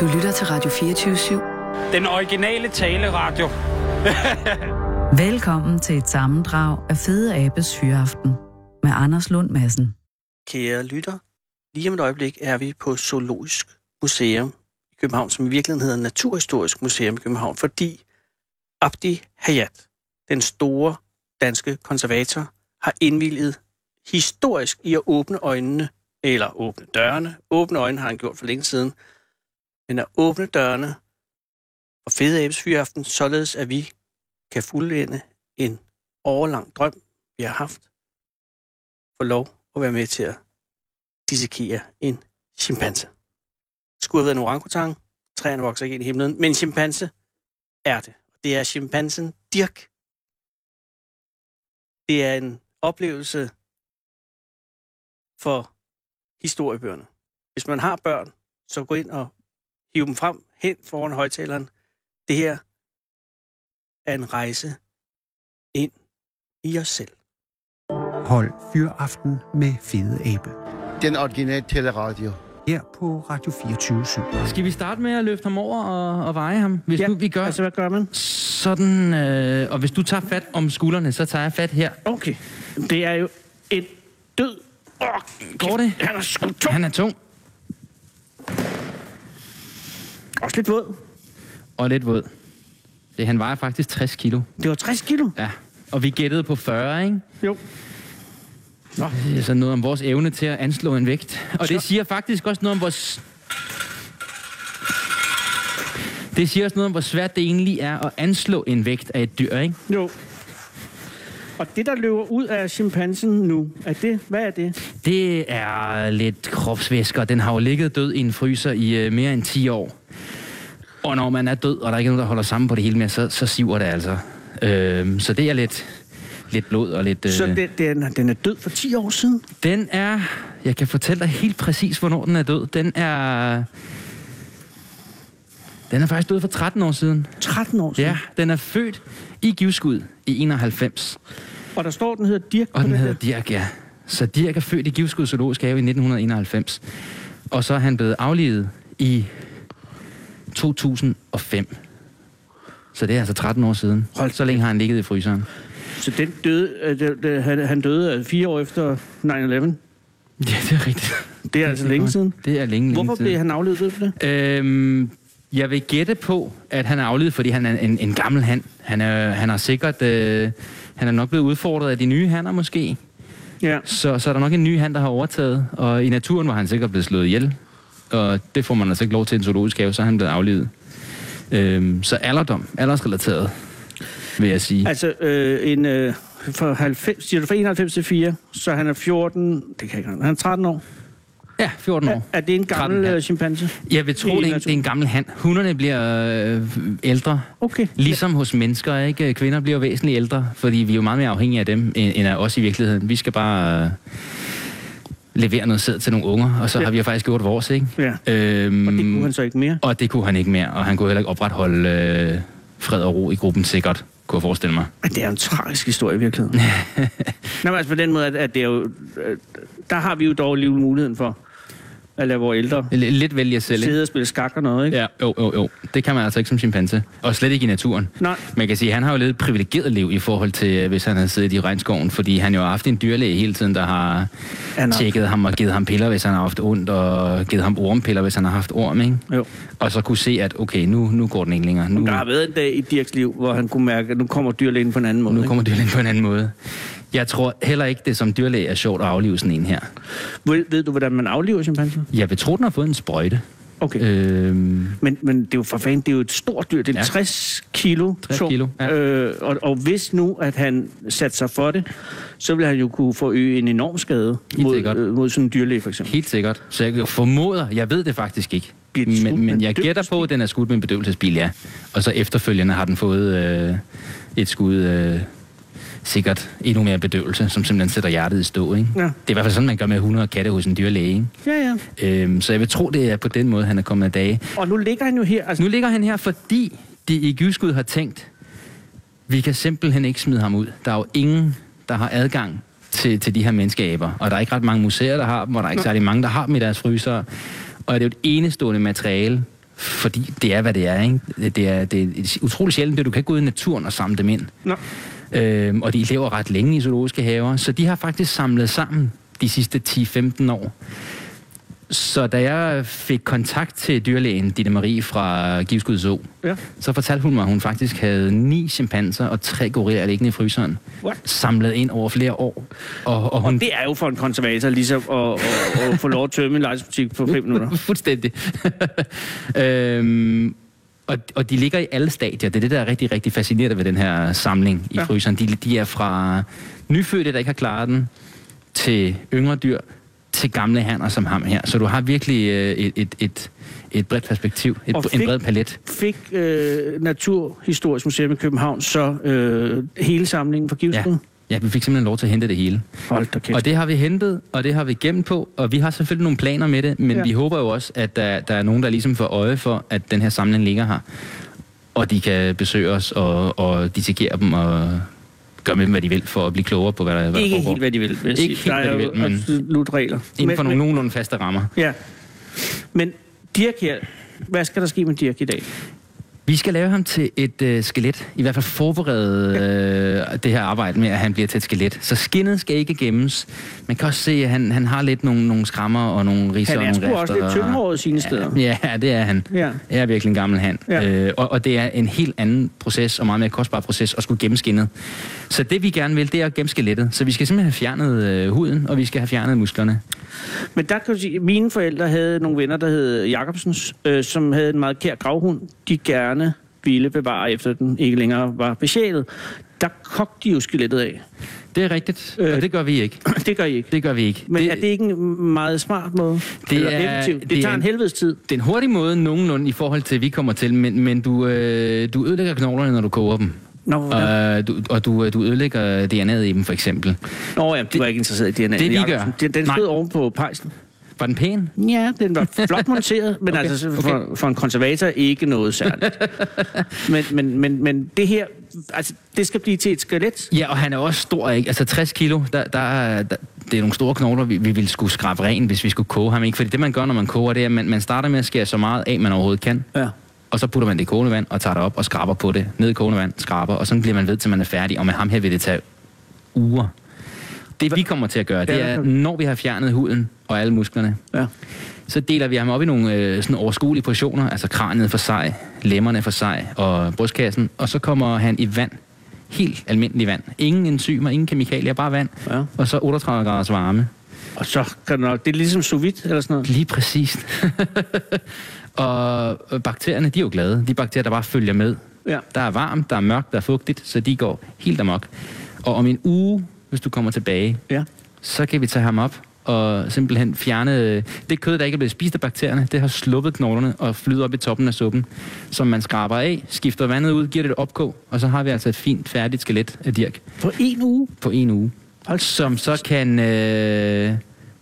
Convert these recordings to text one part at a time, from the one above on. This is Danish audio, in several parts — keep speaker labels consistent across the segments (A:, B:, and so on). A: Du lytter til Radio 24 /7.
B: Den originale taleradio.
A: Velkommen til et sammendrag af Fede Abes Hyreaften med Anders Lund Madsen.
C: Kære lytter, lige om et øjeblik er vi på Zoologisk Museum i København, som i virkeligheden hedder Naturhistorisk Museum i København, fordi Abdi Hayat, den store danske konservator, har indvilget historisk i at åbne øjnene, eller åbne dørene. Åbne øjnene har han gjort for længe siden, men at åbne dørene for Fede Abes Fyraften, således at vi kan fuldende en årlang drøm, vi har haft, få lov at være med til at dissekere en chimpanse. Det skulle have været en orangutang. Træerne vokser ikke ind i himlen, men en chimpanse er det. Det er chimpansen Dirk. Det er en oplevelse for historiebøgerne. Hvis man har børn, så gå ind og hiv dem frem hen foran højtaleren. Det her er en rejse ind i os selv.
D: Hold Fyraften med Fede Abe.
E: Den originale teleradio.
D: Her på Radio 24 7.
F: Skal vi starte med at løfte ham over og, og veje ham? Hvis
C: Ja,
F: ja, nu vi gør
C: Altså,
F: altså...
C: hvad gør man?
F: sådan, øh, og hvis du tager fat om skuldrene, så tager jeg fat her.
C: Okay, det er jo en død. Oh,
F: Går det?
C: Han er sgu tung.
F: Han er tung
C: Også lidt våd.
F: og lidt våd. Det, han vejer faktisk 60 kilo.
C: Det var 60 kilo.
F: Ja. Og vi gættede på 40, ikke?
C: Jo.
F: Nå. Det er sådan noget om vores evne til at anslå en vægt. Og det siger faktisk også noget om vores... Det siger også noget om, hvor svært det egentlig er at anslå en vægt af et dyr, ikke?
C: Jo. Og det, der løber ud af chimpansen nu, er det, hvad er det?
F: Det er lidt kropsvæsker. Den har jo ligget død i en fryser i øh, mere end 10 år. Og når man er død, og der er ikke nogen, der holder sammen på det hele mere, så, så siver det altså. Øhm, så det er lidt, lidt blod og lidt... Øh,
C: Så den, den, er- den er død for 10 år siden.
F: Den er... Jeg kan fortælle dig helt præcis, hvornår den er død. Den er... Den er faktisk død for 13 år siden.
C: 13 år siden.
F: Ja, den er født i Givskud i 91.
C: Og der står, den hedder Dirk. på
F: Og den
C: det
F: hedder
C: der.
F: Dirk, ja. Så Dirk er født i Givskud Zoologisk Have i 1991. Og så er han blevet aflivet i 2005. Så det er altså 13 år siden. Hold så længe har han ligget i fryseren.
C: Så den døde, øh, det- det- han- han døde øh, fire år efter 9-11.
F: Ja, det er rigtigt.
C: Det er altså længe siden.
F: Det er længe, længe
C: Hvorfor
F: siden.
C: blev han aflevet ved for det?
F: Øhm, jeg vil gætte på, at han er afledt, fordi han er en, en gammel han. Han er, han er sikkert... Øh, han er nok blevet udfordret af de nye hanner måske.
C: Ja.
F: Så, så er der nok en ny han, der har overtaget. Og i naturen var han sikkert blevet slået ihjel. Og det får man altså ikke lov til i en zoologisk have, så er han blevet aflevet. Øhm, så alderdom, aldersrelateret, vil jeg sige.
C: Altså, øh, en, øh, fra, 90, siger du, fra 91 til 4, så han er 14, det kan jeg ikke han er 13 år.
F: Ja, 14
C: Er,
F: år.
C: er det en
F: 13
C: gammel
F: her.
C: øh, chimpanse?
F: Jeg vil tro,
C: i
F: det er en, det er
C: naturen.
F: en gammel han. Hunderne bliver øh, ældre.
C: Okay.
F: Ligesom hos mennesker, ikke? Kvinder bliver jo væsentligt ældre, fordi vi er jo meget mere afhængige af dem, end end af os i virkeligheden. Vi skal bare øh, levere noget sæd til nogle unger, og så
C: Ja.
F: ja. har vi jo faktisk gjort vores, ikke?
C: Ja.
F: Øhm,
C: Og det kunne han så ikke mere.
F: og det kunne han ikke mere, og han kunne heller ikke opretholde øh, fred og ro i gruppen sikkert, kunne jeg forestille mig.
C: Men det er jo en tragisk historie i virkeligheden. Nå, men altså på den måde, at, at det er jo, øh, der har vi jo dog alligevel muligheden for at lade vores ældre
F: L- lidt vælge selv, ikke?
C: sidde og spille skak og noget, ikke?
F: Ja, jo, jo, jo. Det kan man altså ikke som chimpanse. Og slet ikke i naturen.
C: Nej.
F: Man kan sige, at han har jo levet et privilegeret liv i forhold til, øh, hvis han havde siddet i regnskoven, fordi han jo har haft en dyrlæge hele tiden, der har
C: Han har-
F: tjekket ham og givet ham piller, hvis han har haft ondt, og givet ham ormpiller, hvis han har haft orm, ikke?
C: Jo.
F: Og så kunne se, at okay, nu, nu går den ikke længere. Nu,
C: Der har været en dag i Dirks liv, hvor han kunne mærke, at nu kommer dyrlægen på en anden måde.
F: nu
C: ikke?
F: kommer dyrlægen på en anden måde. Jeg tror heller ikke, det som dyrlæge er sjovt at aflive sådan en her.
C: Ved, ved du, hvordan man aflever chimpanser?
F: Jeg vil tro, den har fået en sprøjte.
C: Okay.
F: Øhm,
C: Men, men det er jo for fanden, det er jo et stort dyr. Det er ja.
F: Ja.
C: 60 kilo
F: 60
C: tung.
F: kilo, ja.
C: øh, og, og hvis nu, at han satte sig for det, så ville han jo kunne forøge en enorm skade
F: Helt
C: mod,
F: sikkert.
C: øh, mod sådan en dyrlæge, for eksempel.
F: helt sikkert. Så jeg formoder, jeg ved det faktisk ikke.
C: Bliver den skudt
F: Men,
C: med en
F: men jeg gætter på, at den er skudt med en bedøvelsesbil, ja. Og så efterfølgende har den fået øh, et skud, øh, sikkert endnu mere bedøvelse, som simpelthen sætter hjertet i stå, ikke?
C: Ja.
F: Det er i hvert fald sådan, man gør med 100 katte hos en dyrlæge,
C: Ja, ja.
F: ikke? Øhm, så jeg vil tro, det er på den måde, han er kommet af dage.
C: Og nu ligger han jo her. Altså,
F: Nu ligger han her, fordi de i Gyskud har tænkt, vi kan simpelthen ikke smide ham ud. Der er jo ingen, der har adgang til, til de her menneskeaber. Og der er ikke ret mange museer, der har dem, og der er ikke særlig mange, der har dem i deres fryser. Og det er jo et enestående materiale fordi det er, hvad det er. Ikke? Det det er, det er utroligt sjældent, at du kan gå ud i naturen og samle dem ind.
C: Nå.
F: Øhm, og de lever ret længe i zoologiske haver, så de har faktisk samlet sammen de sidste 10-15 år. Så da jeg fik kontakt til dyrlægen Ditte Marie fra Givskud Zoo,
C: Ja.
F: så fortalte hun mig, at hun faktisk havde ni chimpanser og tre gorillaer liggende i fryseren,
C: What?
F: samlet ind over flere år. Og, og hun
C: Det er jo for en konservator ligesom at, at, at få lov at tømme en lejlighedsbutik på fem minutter.
F: Fuldstændig. øhm, og, og de ligger i alle stadier. Det er det, der er rigtig, rigtig fascinerende ved den her samling i
C: Ja.
F: ja. fryseren. De, de er fra nyfødte, der ikke har klaret den, til yngre dyr, til gamle hanner som ham her. Så du har virkelig øh, et, et, et, et bredt perspektiv, et,
C: Og
F: en
C: fik-
F: bred palet.
C: Fik øh, Naturhistorisk Museum i København så øh, hele samlingen for
F: Ja.
C: Givskud?
F: ja, vi fik simpelthen lov til at hente det hele.
C: Hold da kæft.
F: Og det har vi hentet, og det har vi gemt på, og vi har selvfølgelig nogle planer med det, men
C: Ja.
F: ja. vi håber jo også, at der, der er nogen, der ligesom får øje for, at den her samling ligger her, og de kan besøge os og, og dissekere dem og gøre med dem, hvad de vil, for at blive klogere på, hvad der, hvad
C: Ikke
F: der foregår.
C: helt, hvad de vil, vil jeg
F: Ikke
C: sige.
F: helt,
C: Der
F: hvad
C: er
F: de
C: jo
F: vil, men-
C: absolut regler.
F: Inden for
C: Men-
F: nogle nogenlunde faste rammer.
C: men- Ja. Men Dirk her, hvad skal der ske med Dirk i dag?
F: Vi skal lave ham til et øh, skelet. I hvert fald forberede øh, det her arbejde med, at han bliver til et skelet. Så skinnet skal ikke gemmes. Man kan også se, at han, han har lidt nogle, nogle skrammer og nogle riser
C: Han
F: og
C: er
F: nogle
C: sgu også lidt
F: rifter.
C: tyndhåret sine steder.
F: Ja, ja, det er han.
C: Ja.
F: Jeg er virkelig en gammel hand.
C: Ja.
F: Ja. Øh, og, og det er en helt anden proces, og meget mere kostbar proces, at skulle gemme skinnet. Så det vi gerne vil, det er at gemme skelettet. Så vi skal simpelthen have fjernet øh, huden, og vi skal have fjernet musklerne.
C: Men der kan du sige, mine forældre havde nogle venner, der hed Jacobsens, øh, som havde en meget kær gravhund, de gerne ville bevare, efter den ikke længere var besjælet. Der kogte de jo skelettet af.
F: Det er rigtigt,
C: Øh.
F: øh. og det gør vi ikke.
C: det gør I ikke.
F: Det gør vi ikke.
C: Men det,
F: det,
C: er det ikke en meget smart måde?
F: Det
C: Eller
F: er-
C: effektivt? det, det
F: det er
C: tager en
F: en-
C: helvedes tid.
F: det er en hurtig måde nogenlunde i forhold til, at vi kommer til, men, men du, øh, du ødelægger knoglerne, når du koger dem.
C: Nå, hvordan?
F: Og, du, og du, øh, du ødelægger DNA'et i dem, for eksempel.
C: Nå ja, du var ikke interesseret i DNA.
F: det vi gør.
C: Jacobsen. Den, den
F: Nej.
C: stod oven på pejsen.
F: Var den pæn?
C: Ja, den var flot monteret, men okay, altså for, okay. for en konservator ikke noget særligt. men, men, men, men det her, altså det skal blive til et skelet.
F: Ja, og han er også stor, ikke? Altså 60 kilo, der, der, er- der, det er nogle store knogler, vi, vi ville skulle skrabe ren, hvis vi skulle koge ham, ikke? Fordi det, man gør, når man koger, det er, at man, man starter med at skære så meget af, man overhovedet kan.
C: Ja.
F: Og så putter man det i kogende vand og tager det op og skraber på det. Ned i kogende vand, skraber, og sådan bliver man ved, til man er færdig. Og med ham her vil det tage uger. Det, vi kommer til at gøre, det
C: Ja,
F: er,
C: okay.
F: når vi har fjernet huden og alle musklerne,
C: ja.
F: så deler vi ham op i nogle øh, sådan overskuelige portioner, altså kraniet for sig, lemmerne for sig og brystkassen, og så kommer han i vand. Helt almindelig vand. Ingen enzymer, ingen kemikalier, bare vand.
C: Ja.
F: Og så 38 graders varme.
C: Og så kan du nok, det er ligesom sous vide eller sådan noget.
F: Lige præcist. og øh, bakterierne, de er jo glade. De bakterier, der bare følger med.
C: Ja.
F: Der er varmt, der er mørkt, der er fugtigt, så de går helt amok. Og om en uge, hvis du kommer tilbage,
C: Ja.
F: så kan vi tage ham op og simpelthen fjerne øh, det kød, der ikke er blevet spist af bakterierne. Det har sluppet knoglerne og flyder op i toppen af suppen, som man skraber af, skifter vandet ud, giver det et opkog, og så har vi altså et fint, færdigt skelet af dirk
C: På en uge.
F: på en uge.
C: Hold
F: Som så kan... Øh,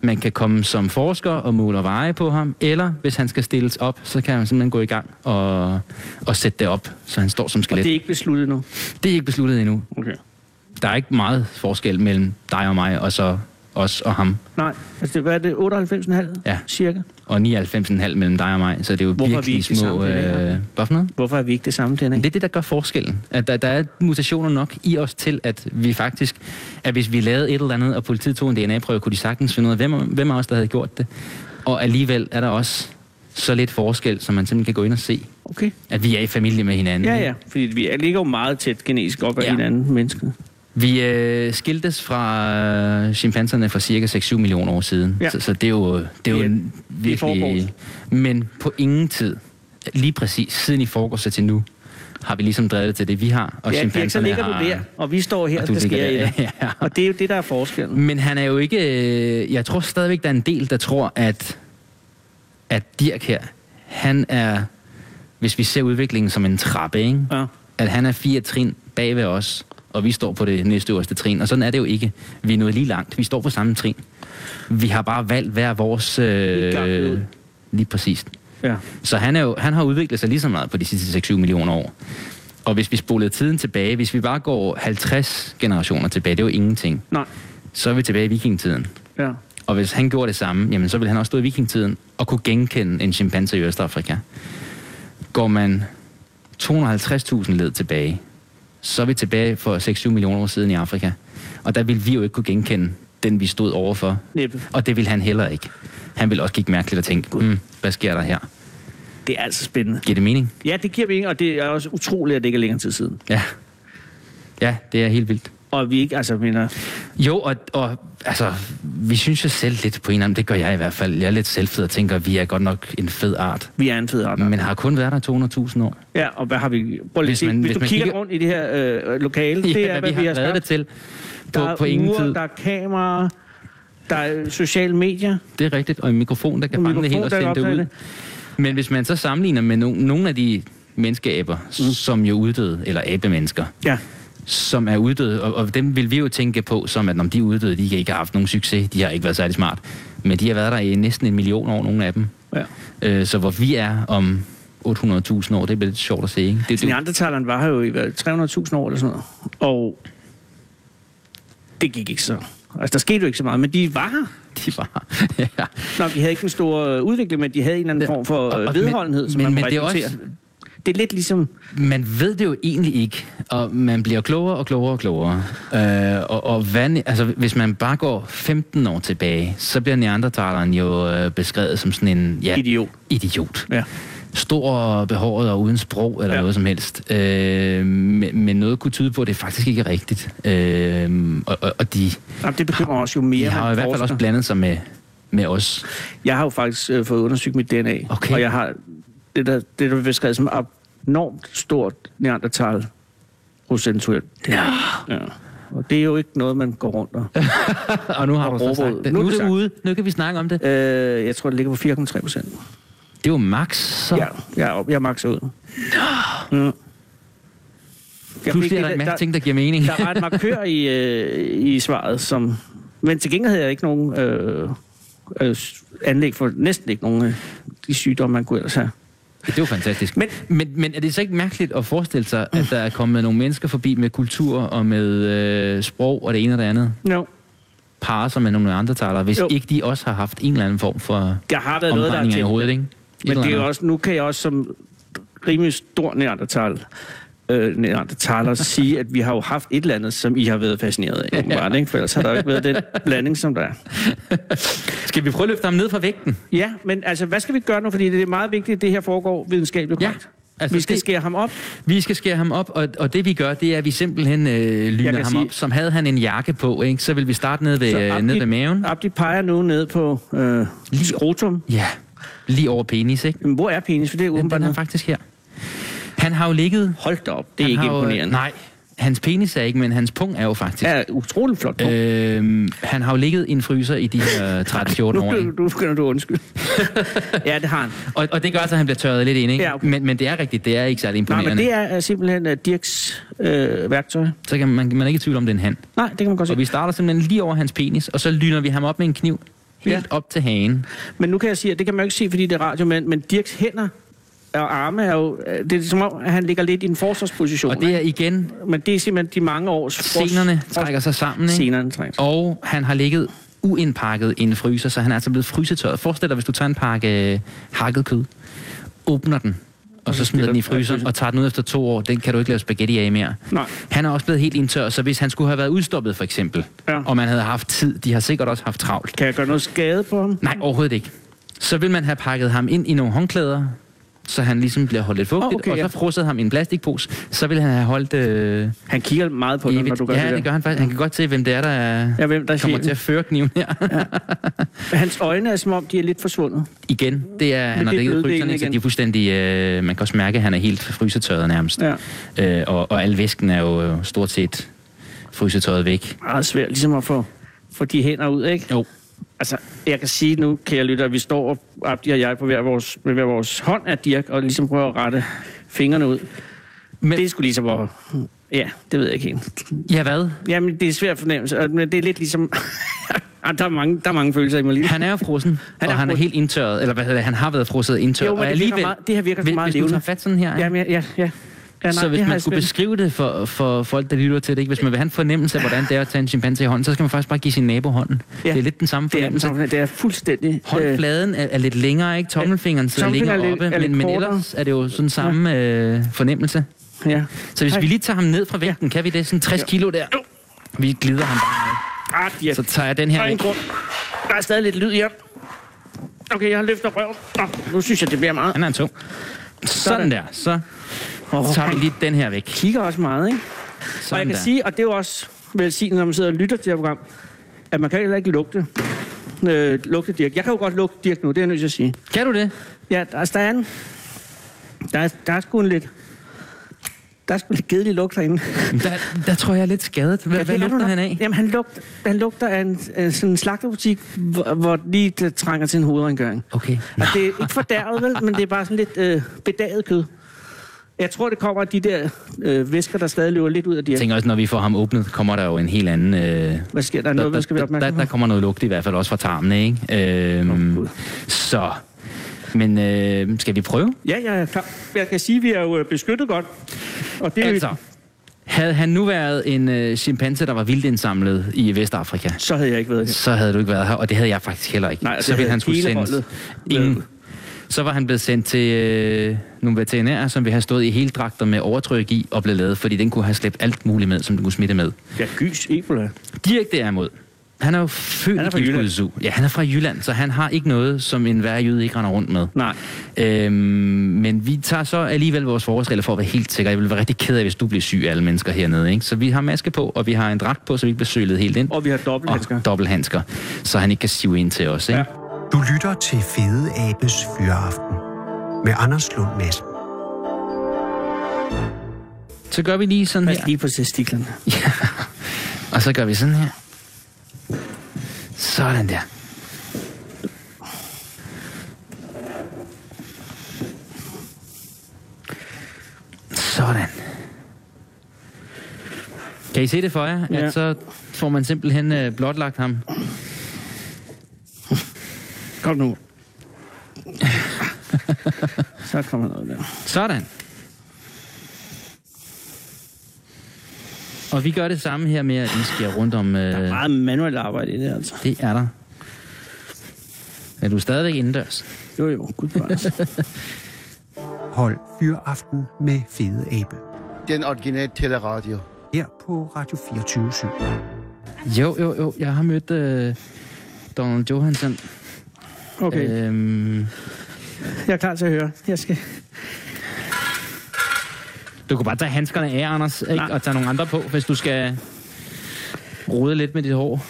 F: man kan komme som forsker og måle og veje på ham, eller hvis han skal stilles op, så kan man simpelthen gå i gang og, og sætte det op, så han står som
C: Og
F: skelet.
C: det er
F: Det...
C: ikke besluttet nu.
F: det er ikke besluttet endnu.
C: Okay.
F: Der er ikke meget forskel mellem dig og mig, og så os og ham.
C: Nej, altså det, hvad er det, 98,5
F: Ja.
C: cirka?
F: og 99,5 mellem dig og mig, så det er jo
C: Hvorfor er vi
F: virkelig
C: ikke det
F: små...
C: samme, det der?
F: Øh, hvad for noget?
C: Hvorfor er vi ikke det samme DNA?
F: Men det er det, der gør forskellen. At der, der er mutationer nok i os til, at vi faktisk... At hvis vi lavede et eller andet, og politiet tog en DNA-prøve, kunne de sagtens finde ud af, hvem, hvem af os, der havde gjort det. Og alligevel er der også så lidt forskel, som man simpelthen kan gå ind og se,
C: Okay.
F: at vi er i familie med hinanden.
C: Ja, ja, fordi vi er- ligger jo meget tæt genetisk op ad ja.
F: Ja.
C: hinanden, mennesket.
F: Vi øh, skiltes fra øh, chimpanserne for cirka 6-7 millioner år siden,
C: Ja.
F: ja. så, så det er jo, øh, det er jo
C: Det er-
F: en
C: det er forgårs.
F: virkelig... men på ingen tid, lige præcis siden i forgårs og til nu, har vi ligesom drevet det til det, vi har, og
C: ja, Dirk, så
F: chimpanserne
C: ligger
F: har...
C: du der, og vi står her, og,
F: du
C: det sker
F: ligger
C: i
F: der.
C: det.
F: Ja.
C: Og det er jo det, der er forskellen.
F: Men han er jo ikke... øh, Jeg tror stadigvæk, der er en del, der tror, at, at Dirk her, han er... Hvis vi ser udviklingen som en trappe, ikke?
C: Ja.
F: at han er fire trin bag ved os, og vi står på det næstøverste trin. Og sådan er det jo ikke. Vi er nået lige langt. Vi står på samme trin. Vi har bare valgt hver vores...
C: er klart ud.
F: Øh, lige præcis.
C: ja.
F: Så han, er jo, han har udviklet sig lige så meget på de sidste 6-7 millioner år. Og hvis vi spolede tiden tilbage, hvis vi bare går 50 generationer tilbage, det er jo ingenting,
C: Nej,
F: så er vi tilbage i vikingtiden.
C: ja.
F: Og hvis han gjorde det samme, jamen så ville han også stå i vikingtiden og kunne genkende en chimpanse i Østafrika. går man 250.000 led tilbage, så er vi tilbage for 6-7 millioner år siden i Afrika. Og der ville vi jo ikke kunne genkende den, vi stod overfor.
C: Næppe.
F: Og det ville han heller ikke. Han ville også kigge mærkeligt og tænke, mm, hvad sker der her?
C: Det er altså spændende.
F: Giver det mening?
C: Ja, det giver mening, og det er også utroligt, at det ikke er længere tid siden.
F: Ja. Ja, det er helt vildt.
C: Og vi ikke, altså, jeg mener,
F: Jo, og, og altså, vi synes jo selv lidt på en eller anden, det gør jeg i hvert fald. Jeg er lidt selvfed og tænker, vi er godt nok en fed art.
C: vi er en fed art.
F: Men har kun været der 200.000 år.
C: Ja, og hvad har vi... Prøv lige at
F: Hvis
C: se,
F: man-
C: hvis,
F: hvis
C: du
F: man
C: kigger,
F: kigger-
C: rundt i det her øh, lokale, det er, hvad vi, har
F: været
C: skabt.
F: det til på,
C: der er
F: på ingen
C: ure,
F: tid.
C: der er kameraer, der er sociale medier.
F: Det er rigtigt, og en mikrofon, der kan
C: En
F: fange det helt
C: mikrofon, der
F: og sende
C: kan
F: det ud.
C: optage
F: Men hvis man så sammenligner med no- nogle af de menneskeaber, mm. som jo uddøde, eller abemennesker,
C: Ja,
F: som er uddøde, og, og dem vil vi jo tænke på, som at om de er uddøde, de kan ikke have haft nogen succes, de har ikke været særlig smart. Men de har været der i næsten en million år, nogle af dem.
C: ja.
F: Øh, så hvor vi er om 800.000 år, det bliver lidt sjovt at se, ikke?
C: Altså,
F: Det, det,
C: Neandertaleren var her jo i hvad, 300.000 år eller sådan noget. Og det gik ikke så. Altså, der skete jo ikke så meget, men de var her.
F: de var... ja.
C: Nå, de havde ikke en stor øh, udvikling, men de havde en eller anden
F: Ja,
C: form for
F: og-
C: øh,
F: og-
C: vedholdenhed, som
F: men-
C: man
F: men
C: må
F: det er
C: rekruttere.
F: også-
C: Det er lidt ligesom...
F: Man ved det jo egentlig ikke, og man bliver klogere og klogere og klogere. Øh, og og hvad, altså, hvis man bare går 15 år tilbage, så bliver neandertaleren jo øh, beskrevet som sådan en... Ja,
C: Idiot.
F: Idiot.
C: Ja.
F: Stor og behåret og uden sprog eller
C: Ja.
F: ja. noget som helst. Øh, men, men noget kunne tyde på, at det faktisk ikke er rigtigt. Øh, og, og, og de,
C: Jamen, det bekymrer os jo
F: de
C: mere.
F: har
C: man
F: jo i hvert fald også
C: forsker.
F: blandet sig med, med os.
C: Jeg har jo faktisk øh, fået undersøgt mit DNA,
F: Okay.
C: og jeg har det, der, det, der bliver beskrevet som abnormt stort neandertal procentuelt.
F: Ja.
C: Ja. Og det er jo ikke noget, man går rundt og...
F: og nu har
C: Og
F: du så
C: råbrød.
F: sagt det.
C: Nu er
F: Nu er
C: det
F: det
C: sagt.
F: ude. Nu kan vi snakke om det.
C: Øh, jeg tror, det ligger på 4,3 procent.
F: Det er jo max, så...
C: Ja, jeg, er op- jeg er max ud. Nå! Mm. Jeg fik
F: Pludselig er der
C: det-
F: en masse ting, der giver mening.
C: Der var et markør i, øh, i svaret, som... Men til gengæld havde jeg ikke nogen øh, øh, s- anlæg for næsten ikke nogen af de sygdomme, man kunne ellers have.
F: Det er jo fantastisk.
C: Men-
F: Men, men, men er det så ikke mærkeligt at forestille sig, at der er kommet nogle mennesker forbi med kultur og med øh, sprog og det ene og det andet?
C: No.
F: Parer sig med nogle andre talere, hvis
C: Jo.
F: jo. ikke de også har haft en eller anden form for
C: Der har været noget, der er
F: omdrejninger i
C: tændt.
F: hovedet, ikke? Et
C: Men
F: eller
C: det er jo
F: andet.
C: også, nu kan jeg også som rimelig stor neandertal, øh, neandertaler sige, at vi har jo haft et eller andet, som I har været fascineret af. Ja. Ikke? For ellers har der jo ikke været den blanding, som der er.
F: Skal vi prøve at løfte ham ned fra vægten?
C: Ja, men altså, hvad skal vi gøre nu? Fordi det er meget vigtigt, at det her foregår videnskabeligt
F: Ja,
C: korrekt.
F: altså,
C: vi skal
F: det-
C: skære ham op.
F: Vi skal skære ham op, og, og det vi gør, det er, at vi simpelthen øh, lyner
C: kan
F: ham
C: sige-
F: op. Som havde han en jakke på, ikke? så vil vi starte ned ved, øh, ned ved maven.
C: Abdi peger nu ned på øh, skrotum.
F: Ja, lige over penis, ikke?
C: Men hvor er penis? For det er
F: Den,
C: åbenbart
F: den er
C: noget.
F: faktisk her. Han har jo ligget...
C: Hold da op, det er
F: han
C: ikke
F: har jo- øh,
C: imponerende.
F: Nej, hans penis er ikke, men hans pung er jo faktisk...
C: Det er utrolig flot. Øh,
F: Øhm, han har jo ligget i en fryser i de her 13-14 år.
C: nu,
F: ikke?
C: nu begynder du at undskylde. ja, det har han.
F: Og, og det gør så, at han bliver tørret lidt ind, ikke?
C: Ja, okay.
F: men, men det er rigtigt, det er ikke særlig
C: Nej,
F: imponerende.
C: men det er, er simpelthen uh, Dirks øh, værktøj.
F: Så kan man, man er ikke i tvivl om, det er en hand.
C: Nej, det kan man godt se.
F: Og vi starter simpelthen lige over hans penis, og så lyner vi ham op med en kniv helt
C: Ja.
F: ja. op til hagen.
C: Men nu kan jeg sige, at det kan man jo ikke se, fordi det er radio, men, men Dirks hænder og arme er jo... øh, Det er som om, at han ligger lidt i en forsvarsposition.
F: Og det er igen,
C: ikke? Men det er simpelthen de mange års... fors-
F: senerne
C: fors-
F: trækker sig sammen, ikke?
C: Senerne trækker sig.
F: Og han har ligget uindpakket i en fryser, så han er altså blevet frysetørret. Forestil dig, hvis du tager en pakke øh, hakket kød, åbner den, og så smider den i fryseren og tager den ud efter to år. Den kan du ikke lave spaghetti af mere.
C: Nej.
F: Han er også blevet helt indtør, så hvis han skulle have været udstoppet for eksempel,
C: Ja.
F: ja. og man havde haft tid, de har sikkert også haft travlt.
C: Kan jeg gøre noget skade på ham?
F: Nej, overhovedet ikke. Så vil man have pakket ham ind i nogle håndklæder, så han ligesom bliver holdt lidt fugtigt,
C: Åh, okay,
F: og så
C: ja.
F: frosset ham i en plastikpose, så vil han have holdt øh,
C: Han kigger meget på dig, når
F: evigt.
C: du gør
F: ja,
C: det,
F: det,
C: der.
F: gør han faktisk. Han kan godt se, hvem det er, der, er,
C: Ja, hvem der er
F: kommer
C: chefen.
F: til at føre kniven her.
C: Hans øjne er som om, de er lidt forsvundet.
F: igen, det er, han har
C: Mm. det er
F: ligget i
C: bløddelen
F: fryseren, ikke? så
C: igen.
F: de er fuldstændig, øh, man kan også mærke, at han er helt frysetørret nærmest.
C: Ja.
F: Øh, og, og al væsken er jo øh, stort set frysetørret væk.
C: Meget svært ligesom at få, få de hænder ud, ikke?
F: Jo,
C: Altså, jeg kan sige nu, kære lytter, at vi står, og Abdi og jeg, på hver vores, med hver vores hånd af Dirk, og ligesom prøver at rette fingrene ud. Men,
F: Men-
C: det skulle ligesom at... Ja, det ved jeg ikke helt.
F: ja hvad?
C: Jamen, det er svært fornemmelse, og- men det er lidt ligesom... Ah, der, er mange, der er mange følelser i mig lige.
F: Han er jo frossen,
C: Han
F: han
C: er
F: er og han er
C: frossen.
F: helt indtørret, eller hvad hedder det, han har været frosset og indtørret.
C: Jo, men
F: og
C: det virker meget, det her virker
F: hvis,
C: meget
F: hvis du
C: levende.
F: tager fat sådan her, ja.
C: Jamen, ja, ja, ja. Ja, nej,
F: så hvis
C: det har
F: man
C: jeg
F: skulle
C: spændt.
F: beskrive det for, for folk, der lytter til det, ikke? hvis man vil have en fornemmelse af, hvordan det er at tage en chimpanse i hånden, så skal man faktisk bare give sin nabo hånden.
C: Ja.
F: Ja. Det er lidt den samme
C: Det er,
F: fornemmelse.
C: det er fuldstændig... Øh,
F: Håndfladen er, er lidt længere, ikke? Tommelfingeren sidder
C: Tommelfingeren
F: længere
C: er
F: oppe,
C: lidt- er
F: men,
C: lidt
F: men
C: kortere.
F: ellers er det jo sådan samme øh, fornemmelse.
C: ja.
F: Så hvis
C: Hej.
F: vi lige tager ham ned fra vægten, kan vi det? Sådan 60 kilo der. Vi glider ham bare ned.
C: Ah, ja.
F: Så tager jeg den her
C: Der er en
F: væk.
C: grund. Der er stadig lidt lyd her. Okay, jeg har løftet røven. Nå, nu synes jeg, det bliver meget.
F: Han er en tung. Sådan der. Så
C: Åh,
F: tager vi lige den her væk.
C: kigger også meget, ikke? Og jeg
F: Sådan
C: kan
F: der.
C: sige, og det er jo også velsignet, når man sidder og lytter til det her program, at man kan heller ikke lugte, øh, lugte Dirk. Jeg kan jo godt lugte Dirk nu, det er jeg nødt til at sige.
F: Kan du det?
C: Ja, der, altså, der er en... Der er, der er sgu en lidt... Der er sgu lidt kedelig lugt herinde.
F: Der, der tror jeg er lidt skadet. Hvad, hvad lugter han af?
C: Jamen, han lugter, han lugter af en, af sådan en slagterbutik, hvor, hvor lige det trænger til en hovedrengøring.
F: Okay.
C: Og det er ikke fordærvet, vel, men det er bare sådan lidt øh, bedaget kød. Jeg tror, det kommer af de der øh, væsker, der stadig løber lidt ud af de
F: Jeg
C: her.
F: tænker også, når vi får ham åbnet, kommer der jo en helt anden... Øh,
C: Hvad sker der? Er Noget,
F: der,
C: man skal være
F: der, der,
C: opmærksom på?
F: der kommer noget lugt i hvert fald også fra tarmen, ikke? Øhm, så... Men øh, skal vi prøve?
C: Ja, jeg er klar. Jeg kan sige, at vi er jo øh, beskyttet godt. Og det er
F: Altså,
C: altså.
F: havde han nu været en øh, chimpanse, der var vildindsamlet i Vestafrika,
C: Så havde jeg ikke været her.
F: så havde du ikke været her, og det havde jeg faktisk heller ikke.
C: Nej, og
F: så
C: det
F: ville
C: havde
F: han skulle
C: hele
F: sendes.
C: holdet
F: Ingen.
C: været.
F: Så var han blevet sendt til øh, nogle veterinærer, som ville have stået i hele dragter med overtryk i og blevet lavet, fordi den kunne have slæbt alt muligt med, som den kunne smitte med.
C: Ja, gys, Ebola.
F: Dirk derimod, han er jo født
C: Han er fra
F: i
C: Jylland.
F: Gifted Zoo. Ja, han er fra Jylland, så han har ikke noget, som en værre jyde ikke render rundt med.
C: Nej.
F: Øhm, men vi tager så alligevel vores forholdsregler for at være helt sikre. Jeg vil være rigtig ked af, hvis du bliver syg af alle mennesker hernede. Ikke? Så vi har maske på, og vi har en dragt på, så vi ikke bliver sølet helt ind.
C: Og vi har dobbelthandsker.
F: Og dobbelthandsker, så han ikke kan sive ind til os. Ikke?
C: Ja.
F: Ja.
D: Du lytter til Fede Abes Fyraften med Anders Lund Madsen.
F: Så gør vi lige sådan
C: Pas
F: her.
C: lige på testiklerne.
F: Ja. Og så gør vi sådan her. Sådan der. Sådan. Kan I se det for jer? Ja.
C: Ja.
F: At så får man simpelthen øh, blotlagt ham.
C: Kom nu. Så kommer noget der.
F: Sådan. Og vi gør det samme her med, at vi skal rundt om... Øh,
C: Der er meget manuelt arbejde i det, altså.
F: det er der. Er du stadigvæk indendørs?
C: Jo, jo. Gud, hvor er det.
D: Hold Fyraften med Fede Abe.
E: Den originale teleradio.
D: Her på Radio 24 7.
F: Jo, jo, jo. Jeg har mødt øh, Donald Johansson.
C: Okay,
F: Øhm,
C: jeg er klar til at høre. Jeg skal...
F: du kan bare tage handskerne af, Anders, ikke?
C: Nej.
F: og tage nogle andre på, hvis du skal rode lidt med dit hår.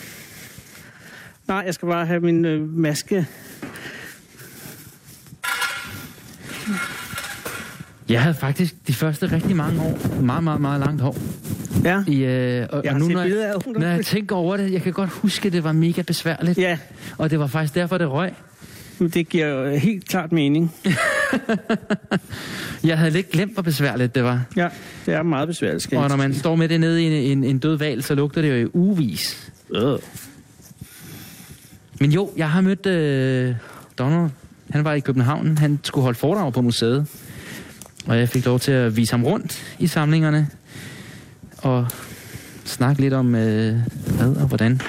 C: Nej, jeg skal bare have min øh, maske.
F: Jeg havde faktisk de første rigtig mange år meget, meget, meget langt hår.
C: Ja.
F: I, øh, og,
C: Jeg
F: og
C: har
F: nu,
C: set
F: når,
C: billeder
F: jeg,
C: af ungdommen.
F: når jeg tænker over det, jeg kan godt huske, det var mega besværligt.
C: Ja,
F: Og det var faktisk derfor, det røg.
C: men det giver jo øh, helt klart mening.
F: Jeg havde lidt glemt, hvor besværligt det var.
C: Ja, det er meget besværligt. Skal
F: Og
C: jeg
F: når man
C: sige.
F: står med det nede i en, en, en død val, så lugter det jo i uvis.
C: Øh.
F: Men jo, jeg har mødt øh, Donald. Han var i København. Han skulle holde foredrag på museet. Og jeg fik lov til at vise ham rundt i samlingerne. Og snakke lidt om, øh, hvad og hvordan.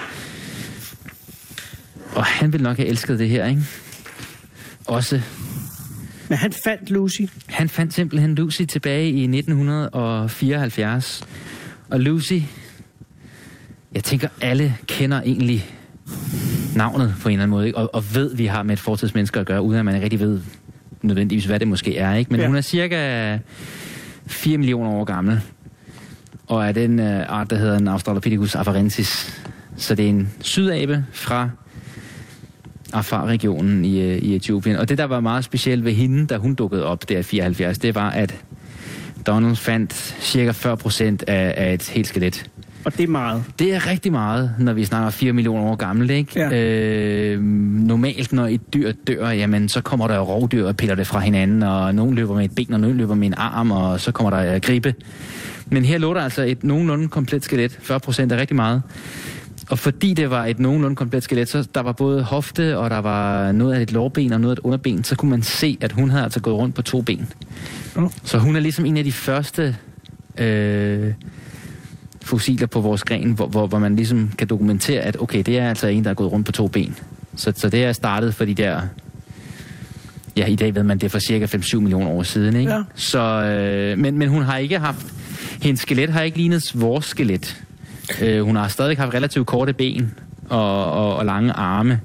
F: Og han ville nok have elsket det her, ikke? Også.
C: Men han fandt Lucy.
F: Han fandt simpelthen Lucy tilbage i 1974. Og Lucy... Jeg tænker, alle kender egentlig navnet på en eller anden måde, ikke? Og, og ved, vi har med et fortidsmenneske at gøre, uden at man rigtig ved nødvendigvis, hvad det måske er. Ikke? Men
C: Ja.
F: ja. hun er cirka 4 millioner år gammel, og er den øh, art, der hedder en Australopithecus afarensis. Så det er en sydabe fra Afar-regionen i, øh, i Etiopien. Og det, der var meget specielt ved hende, da hun dukkede op der i 74, det var, at Donald fandt cirka 40 procent af, af et helt skelet.
C: Og det er meget.
F: Det er rigtig meget, når vi snakker 4 millioner år gammelt, ikke?
C: Ja.
F: Øh, normalt, når et dyr dør, jamen, så kommer der jo rovdyr og piller det fra hinanden, og nogen løber med et ben, og nogen løber med en arm, og så kommer der øh, gribe. Men her lå der altså et nogenlunde komplet skelet. 40 procent er rigtig meget. Og fordi det var et nogenlunde komplet skelet, så der var både hofte, og der var noget af et lårben og noget af et underben, så kunne man se, at hun havde altså gået rundt på to ben.
C: Nå.
F: Så hun er ligesom en af de første øh, fossiler på vores gren, hvor, hvor, hvor man ligesom kan dokumentere, at okay, det er altså en, der er gået rundt på to ben. Så, så det er startet for de der... Ja, i dag ved man det er for cirka 5-7 millioner år siden, ikke?
C: Ja.
F: Så, øh, men, men hun har ikke haft... Hendes skelet har ikke lignet vores skelet. Øh, hun har stadig haft relativt korte ben og, og, og lange arme.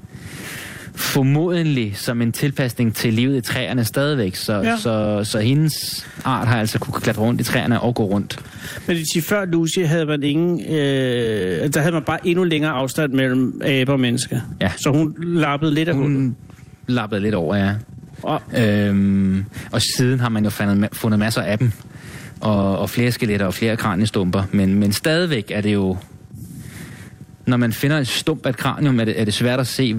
F: Formodentlig som en tilpasning til livet i træerne stadigvæk. Så,
C: Ja.
F: ja. så, så hendes art har altså kunne klatre rundt i træerne og gå rundt.
C: Men det vil sige, før Lucy havde man ingen... Øh, der havde man bare endnu længere afstand mellem abe og menneske.
F: Ja.
C: Så hun lappede lidt af hunden.
F: Hun lappede lidt over, ja.
C: Og,
F: Øhm, og siden har man jo fundet, fundet masser af dem. Og, og flere skeletter og flere kraniestumper. Men, men stadigvæk er det jo... Når man finder en stump af et kranium, er det, er det svært at se,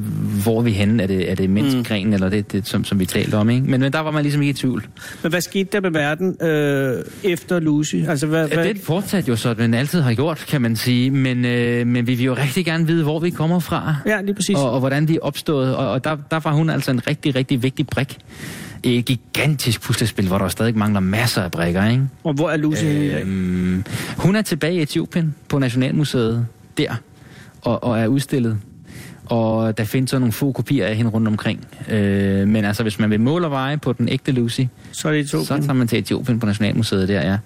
F: hvor er vi henne. Er det, er det menneskegrenen, mm. eller det, det som, som vi talte om, ikke? Men, men der var man ligesom ikke i tvivl.
C: men hvad skete der med verden øh, efter Lucy? Altså, hvad,
F: Ja,
C: hvad,
F: det fortsat jo sådan, man altid har gjort, kan man sige. Men, øh, men vi vil jo rigtig gerne vide, hvor vi kommer fra.
C: ja lige præcis.
F: og, og hvordan de opstod. Og, og der, der var hun altså en rigtig, rigtig vigtig brik. Et gigantisk puslespil, hvor der stadig mangler masser af brikker, ikke?
C: Og hvor er Lucy henne i dag?
F: Øhm, hun er tilbage i Etiopien på Nationalmuseet der, og, og er udstillet. Og der findes så nogle få kopier af hende rundt omkring. Øh, men altså, hvis man vil måle og veje på den ægte Lucy,
C: Så er det i to.
F: så tager man til Etiopien på Nationalmuseet der, ja.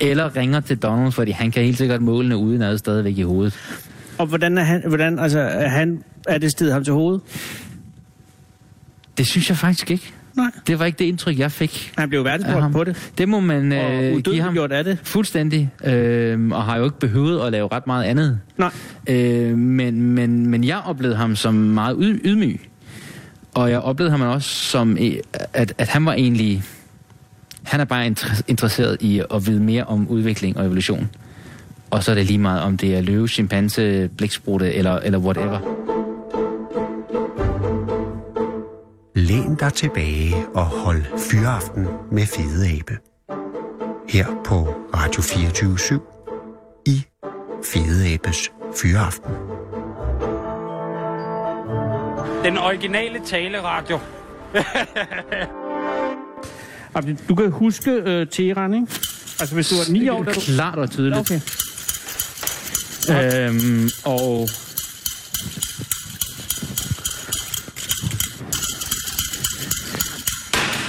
F: Eller ringer til Donald, fordi han kan helt sikkert målene udenad stadigvæk i hovedet.
C: Og hvordan er han... Hvordan, altså, er, han, er det stedet ham til hovedet?
F: Det synes jeg faktisk ikke.
C: Nej.
F: Det var ikke det indtryk, jeg fik.
C: Han blev
F: af
C: verdensborg
F: ham.
C: på det.
F: Det må man
C: Og
F: øh, give ham.
C: udødeliggjort af det.
F: Fuldstændig. Øh, og har jo ikke behøvet at lave ret meget andet.
C: Nej.
F: Øh, men, men, men jeg oplevede ham som meget yd- ydmyg. Og jeg oplevede ham også som, øh, at, at han var egentlig... Han er bare inter- interesseret i at vide mere om udvikling og evolution. Og så er det lige meget, om det er løve, chimpanse, blæksprutte eller, eller whatever.
D: Læn dig tilbage og hold fyraften med Fede Abe. Her på Radio 24 i Fede Abes Fyraften.
G: Den originale taleradio.
C: Jamen, Du kan huske øh, Teheran, ikke? Altså, hvis du var 9 år, da du...
F: Klart og tydeligt.
C: Okay.
F: Øhm, og...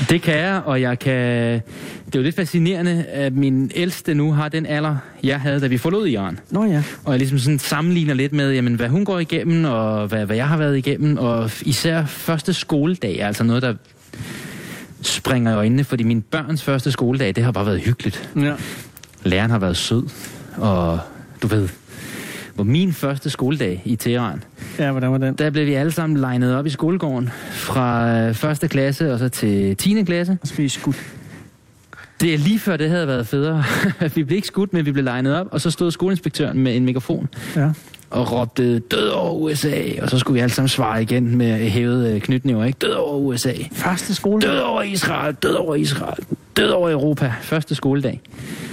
F: Det kan jeg, og jeg kan... Det er jo lidt fascinerende, at min ældste nu har den alder, jeg havde, da vi forlod Iran.
C: Nå ja.
F: Og jeg ligesom sådan sammenligner lidt med, jamen, hvad hun går igennem, og hvad, hvad jeg har været igennem. Og f- især første skoledag er altså noget, der springer i øjnene, fordi min børns første skoledag, det har bare været hyggeligt
C: ja.
F: læreren har været sød, og du ved, på min første skoledag i Teheran,
C: Ja, hvordan var den?
F: der blev vi alle sammen legnet op i skolegården fra øh, første klasse og så til 10. klasse.
C: Så skal I skudt.
F: Det er lige før, det havde været federe. vi blev ikke skudt, men vi blev legnet op, og så stod skoleinspektøren med en mikrofon
C: Ja.
F: og råbte død over USA, og så skulle vi alle sammen svare igen med hævet øh, knytnæver, ikke? Død over USA.
C: Første skole.
F: Død over Israel, død over Israel, død over Europa. Første skoledag.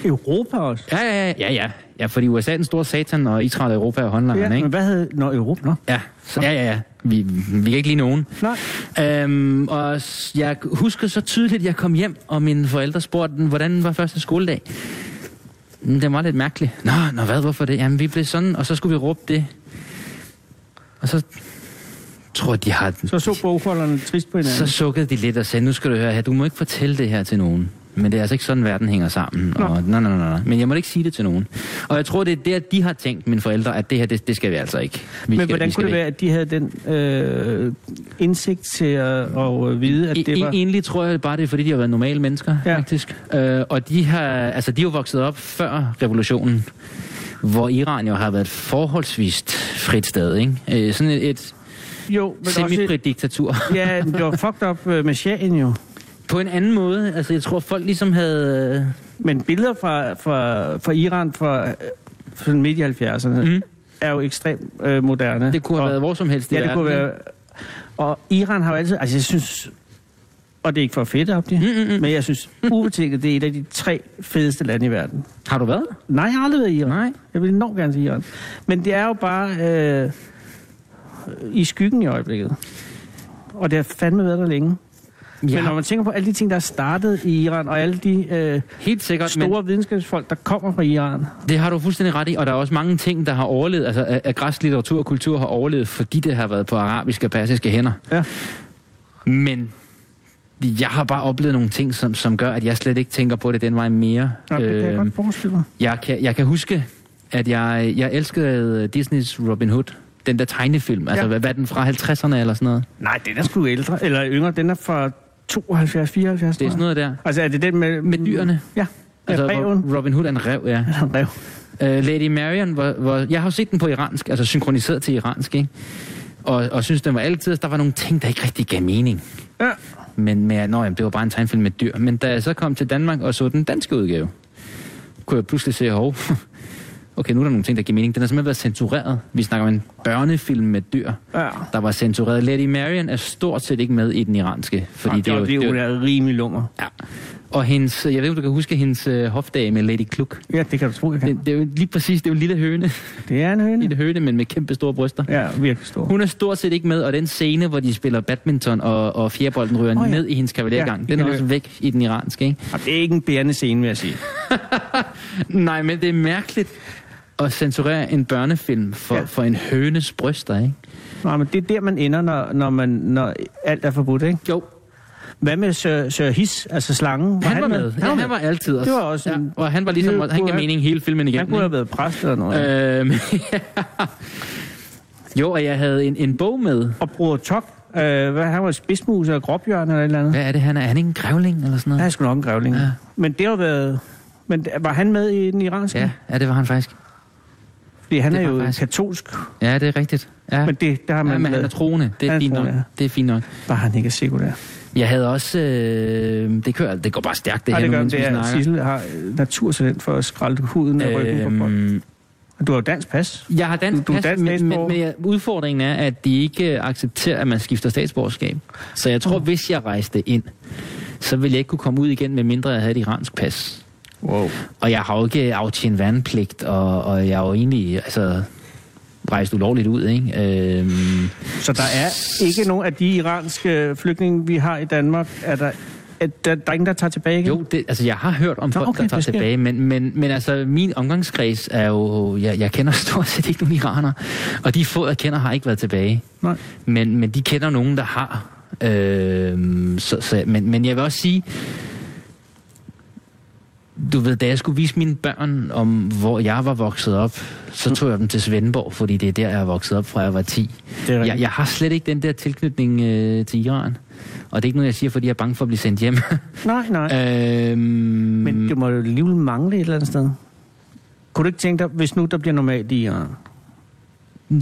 C: Europa også.
F: Ja, ja, ja, ja, ja. Ja, fordi USA er den store satan, og Israel og Europa er håndlangerne,
C: Ja,
F: ikke?
C: men hvad havde... Nå, Europa, nå.
F: Ja, så, ja, ja, ja. Vi, vi kan ikke lide nogen.
C: Nej.
F: Øhm, og s- jeg husker så tydeligt, at jeg kom hjem, og mine forældre spurgte, hvordan var første skoledag? "Mm, Den var lidt mærkelig. Nå, nå hvad, hvorfor det? Jamen, vi blev sådan, og så skulle vi råbe det. Og så tror jeg, de har den.
C: Så så bogholderne trist på
F: Så
C: hinanden.
F: sukkede de lidt og sagde, nu skal du høre her, du må ikke fortælle det her til nogen. Men det er altså ikke sådan, verden hænger sammen. Og, nej, nej, nej, nej. Men jeg må ikke sige det til nogen. Og jeg tror, det er der, de har tænkt, mine forældre, at det her, det, det skal vi altså ikke. Vi
C: Men
F: skal, vi
C: hvordan
F: skal
C: kunne det
F: væk.
C: være, at de havde den øh, indsigt til at, at øh, vide, at det
F: E-
C: var...
F: Egentlig tror jeg bare, det er fordi, de har været normale mennesker,
C: Ja.
F: ja. faktisk. Øh, og de har, altså, de er jo vokset op før revolutionen, hvor Iran jo har været et forholdsvis frit sted, ikke? Øh, sådan et, et
C: Jo, men også...
F: semifrit diktatur.
C: Ja, men det var fucked up øh, med shahen jo.
F: På en anden måde, altså jeg tror, folk ligesom havde...
C: Men billeder fra, fra, fra Iran fra, øh, fra midt i 70'erne mm.
F: Mm.
C: er jo ekstremt øh, moderne.
F: Det kunne have
C: og,
F: været hvor som helst i
C: Ja, det
F: verden,
C: kunne
F: ikke?
C: være... Og Iran har jo altid... Altså, jeg synes... Og det er ikke for fedt op det.
F: Mm, mm, mm.
C: Men jeg synes, ubetinget, det er et af de tre fedeste lande i verden.
F: Har du været?
C: Nej, jeg har aldrig været i Iran.
F: Nej.
C: Jeg vil enormt gerne til Iran. Men det er jo bare øh, i skyggen i øjeblikket. Og det har fandme været der længe. Ja. Men når man tænker på alle de ting, der er startet i Iran, og alle de øh,
F: Helt sikkert, men
C: store videnskabsfolk, der kommer fra Iran.
F: det har du fuldstændig ret i, og der er også mange ting, der har overlevet, altså at at græsk litteratur og kultur har overlevet, fordi det har været på arabiske og persiske hænder.
C: Ja.
F: Men jeg har bare oplevet nogle ting, som, som gør, at jeg slet ikke tænker på det den vej mere.
C: Ja, det kan jeg
F: Øhm,
C: godt forestille mig.
F: Jeg kan, jeg kan huske, at jeg, jeg elskede Disney's Robin Hood. Den der tegnefilm. Altså,
C: Ja.
F: ja. hvad hvad er den fra 50'erne eller sådan noget?
C: Nej, den er sgu ældre, eller yngre. Den er fra 72, 74,
F: Det er sådan
C: tror jeg.
F: noget der.
C: Altså, er det den med...
F: Med dyrene.
C: Ja, altså,
F: Altså,
C: reven.
F: Ro- Robin Hood er en rev, ja.
C: Han rev.
F: Uh, Lady Marion, hvor, hvor, jeg har jo set den på iransk, altså synkroniseret til iransk, ikke? Og, og synes, den var altid, der var nogle ting, der ikke rigtig gav mening.
C: Ja.
F: Men med, nå, jamen, det var bare en tegnefilm med dyr. Men da jeg så kom til Danmark og så den danske udgave, kunne jeg pludselig se, hov, okay, nu er der nogle ting, der giver mening. Den har simpelthen været censureret. Vi snakker om en børnefilm med dyr,
C: Ja.
F: der var censureret. Lady Marion er stort set ikke med i den iranske, fordi
C: Fordi
F: det, er jo, det, er jo,
C: Ah, er rimelig lummer.
F: Og hendes, jeg ved ikke, om du kan huske hendes øh, hofdage med Lady Kluk.
C: Ja, det kan du tro, jeg
F: Det,
C: kan.
F: det, er jo lige præcis, det er jo en lille høne.
C: Det er en høne.
F: lille høne, men med kæmpe store bryster.
C: Ja, virkelig stor.
F: Hun er stort set ikke med, og den scene, hvor de spiller badminton, og, og fjerbolden ryger
C: Åh,
F: oh,
C: ja.
F: ja. ned i hendes kavalergang,
C: Ja,
F: ja, den
C: ja,
F: er
C: ja.
F: også væk i den iranske, ikke?
C: Jamen, det er ikke en bærende scene, vil jeg sige.
F: Nej, men det er mærkeligt at censurere en børnefilm for,
C: Ja.
F: ja. for en hønes bryster, ikke?
C: Nej, men det er der, man ender, når, når, man, når alt er forbudt, ikke?
F: Jo,
C: Hvad med Sir, Sir His, altså slangen?
F: han, han var med. Ja, han var altid også.
C: Det var også en-
F: og han var ligesom,
C: Det
F: han gav
C: kunne-
F: mening hele filmen igen.
C: Han kunne have været præst eller noget. Øh.
F: Øhm, jo, og jeg havde en, en bog med.
C: Og Bror Tok, øh, hvad, han var spidsmus eller gråbjørn eller et eller andet.
F: Hvad er det, han er? Er han ikke en grævling eller sådan
C: Ja,
F: noget?
C: han skulle nok en grævling. Ja.
F: Ja.
C: Men det har været... Men var han med i den iranske?
F: Ja, ja, det var han faktisk.
C: Fordi han
F: det
C: er
F: var
C: jo
F: faktisk-
C: katolsk,
F: Ja, det er rigtigt. Ja.
C: men det, der har man...
F: ja, men han er
C: lavet.
F: troende. Det er,
C: Han er
F: fint
C: troende,
F: nok. Det er fint nok.
C: Bare han ikke er sekulær.
F: Jeg havde også... Øh, det kører, det går bare stærkt, det
C: Det,
F: her,
C: det
F: nu,
C: gør,
F: mens vi
C: det er, at
F: snakker.
C: Sissel har øh, naturtalent for at skralde huden af ryggen på folk.
F: Øhm,
C: Men Du har jo dansk pas.
F: jeg har dansk,
C: Du- du er
F: pas,
C: dansk
F: men, men,
C: statsborger.
F: men jeg- udfordringen er, at de ikke øh, accepterer, at man skifter statsborgerskab. Så jeg tror,
C: Mm.
F: oh. hvis jeg rejste ind, så ville jeg ikke kunne komme ud igen, medmindre jeg havde et iransk pas.
C: Wow.
F: Og jeg har jo ikke aftjent værnepligt, og, og jeg er jo egentlig altså, rejst ulovligt ud, ikke? Øhm,
C: Så der er ikke nogen af de iranske flygtninge, vi har i Danmark, er der, er der, der er ingen, der tager tilbage igen?
F: jo, det, altså jeg har hørt om folk,
C: okay,
F: okay, der tager
C: det sker.
F: tilbage, men, men, men altså min omgangskreds er jo... Jeg, jeg kender stort set ikke nogen iranere, og de få, jeg kender, har ikke været tilbage.
C: Nej.
F: Men, men de kender nogen, der har. Øh, så, så, men, men jeg vil også sige, du ved, da jeg skulle vise mine børn om, hvor jeg var vokset op, så tog jeg dem til Svendborg, fordi det er der, jeg er vokset op fra, jeg var 10.
C: Det er rigtigt.
F: Jeg, jeg har slet ikke den der tilknytning øh, til Iran. Og det er ikke noget, jeg siger, fordi jeg er bange for at blive sendt hjem.
C: Nej, nej.
F: øhm,
C: Men
F: men,
C: du må jo alligevel mangle et eller andet sted. Kunne du ikke tænke dig, hvis nu der bliver normalt i øh, Iran?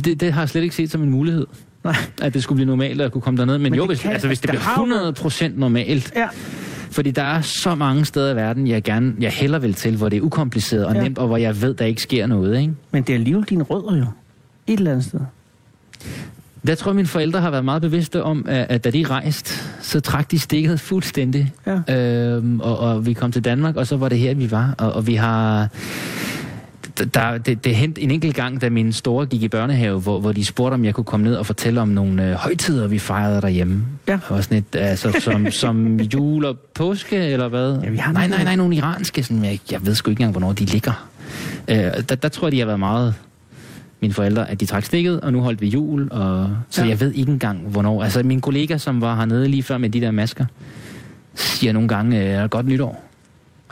F: det, det har jeg slet ikke set som en mulighed.
C: Nej.
F: At det skulle blive normalt at kunne komme derned. Men,
C: Men
F: men jo,
C: det
F: hvis,
C: kan-
F: kan, altså, hvis det
C: der har jo-
F: bliver 100% normalt,
C: Ja.
F: Fordi der er så mange steder i verden, jeg gerne, jeg heller vil til, hvor det er ukompliceret og
C: Ja.
F: ja. nemt, og hvor jeg ved, der ikke sker noget, ikke?
C: Men det er alligevel dine rødder jo. Et eller andet sted.
F: Der tror jeg, mine forældre har været meget bevidste om, at, at da de rejste, så trak de stikket fuldstændig.
C: Ja.
F: Øhm, og, og vi kom til Danmark, og så var det her, vi var. Og, og vi har... d- Der, det, det hent en enkelt gang, da min store gik i børnehave, hvor, hvor de spurgte, om jeg kunne komme ned og fortælle om nogle øh, højtider, vi fejrede derhjemme.
C: Ja.
F: Og sådan et, altså, som, som jul og påske, eller hvad?
C: Ja, vi har
F: nej,
C: nogle-
F: nej, nej, nogle iranske. Sådan, jeg, jeg ved sgu ikke engang, hvornår de ligger. Øh, der, der tror jeg, de har været meget mine forældre, at de trak stikket, og nu holdt vi jul, og... så
C: Ja.
F: ja. jeg ved ikke engang, hvornår. Altså, min kollega, som var hernede lige før med de der masker, siger nogle gange, øh, godt nytår.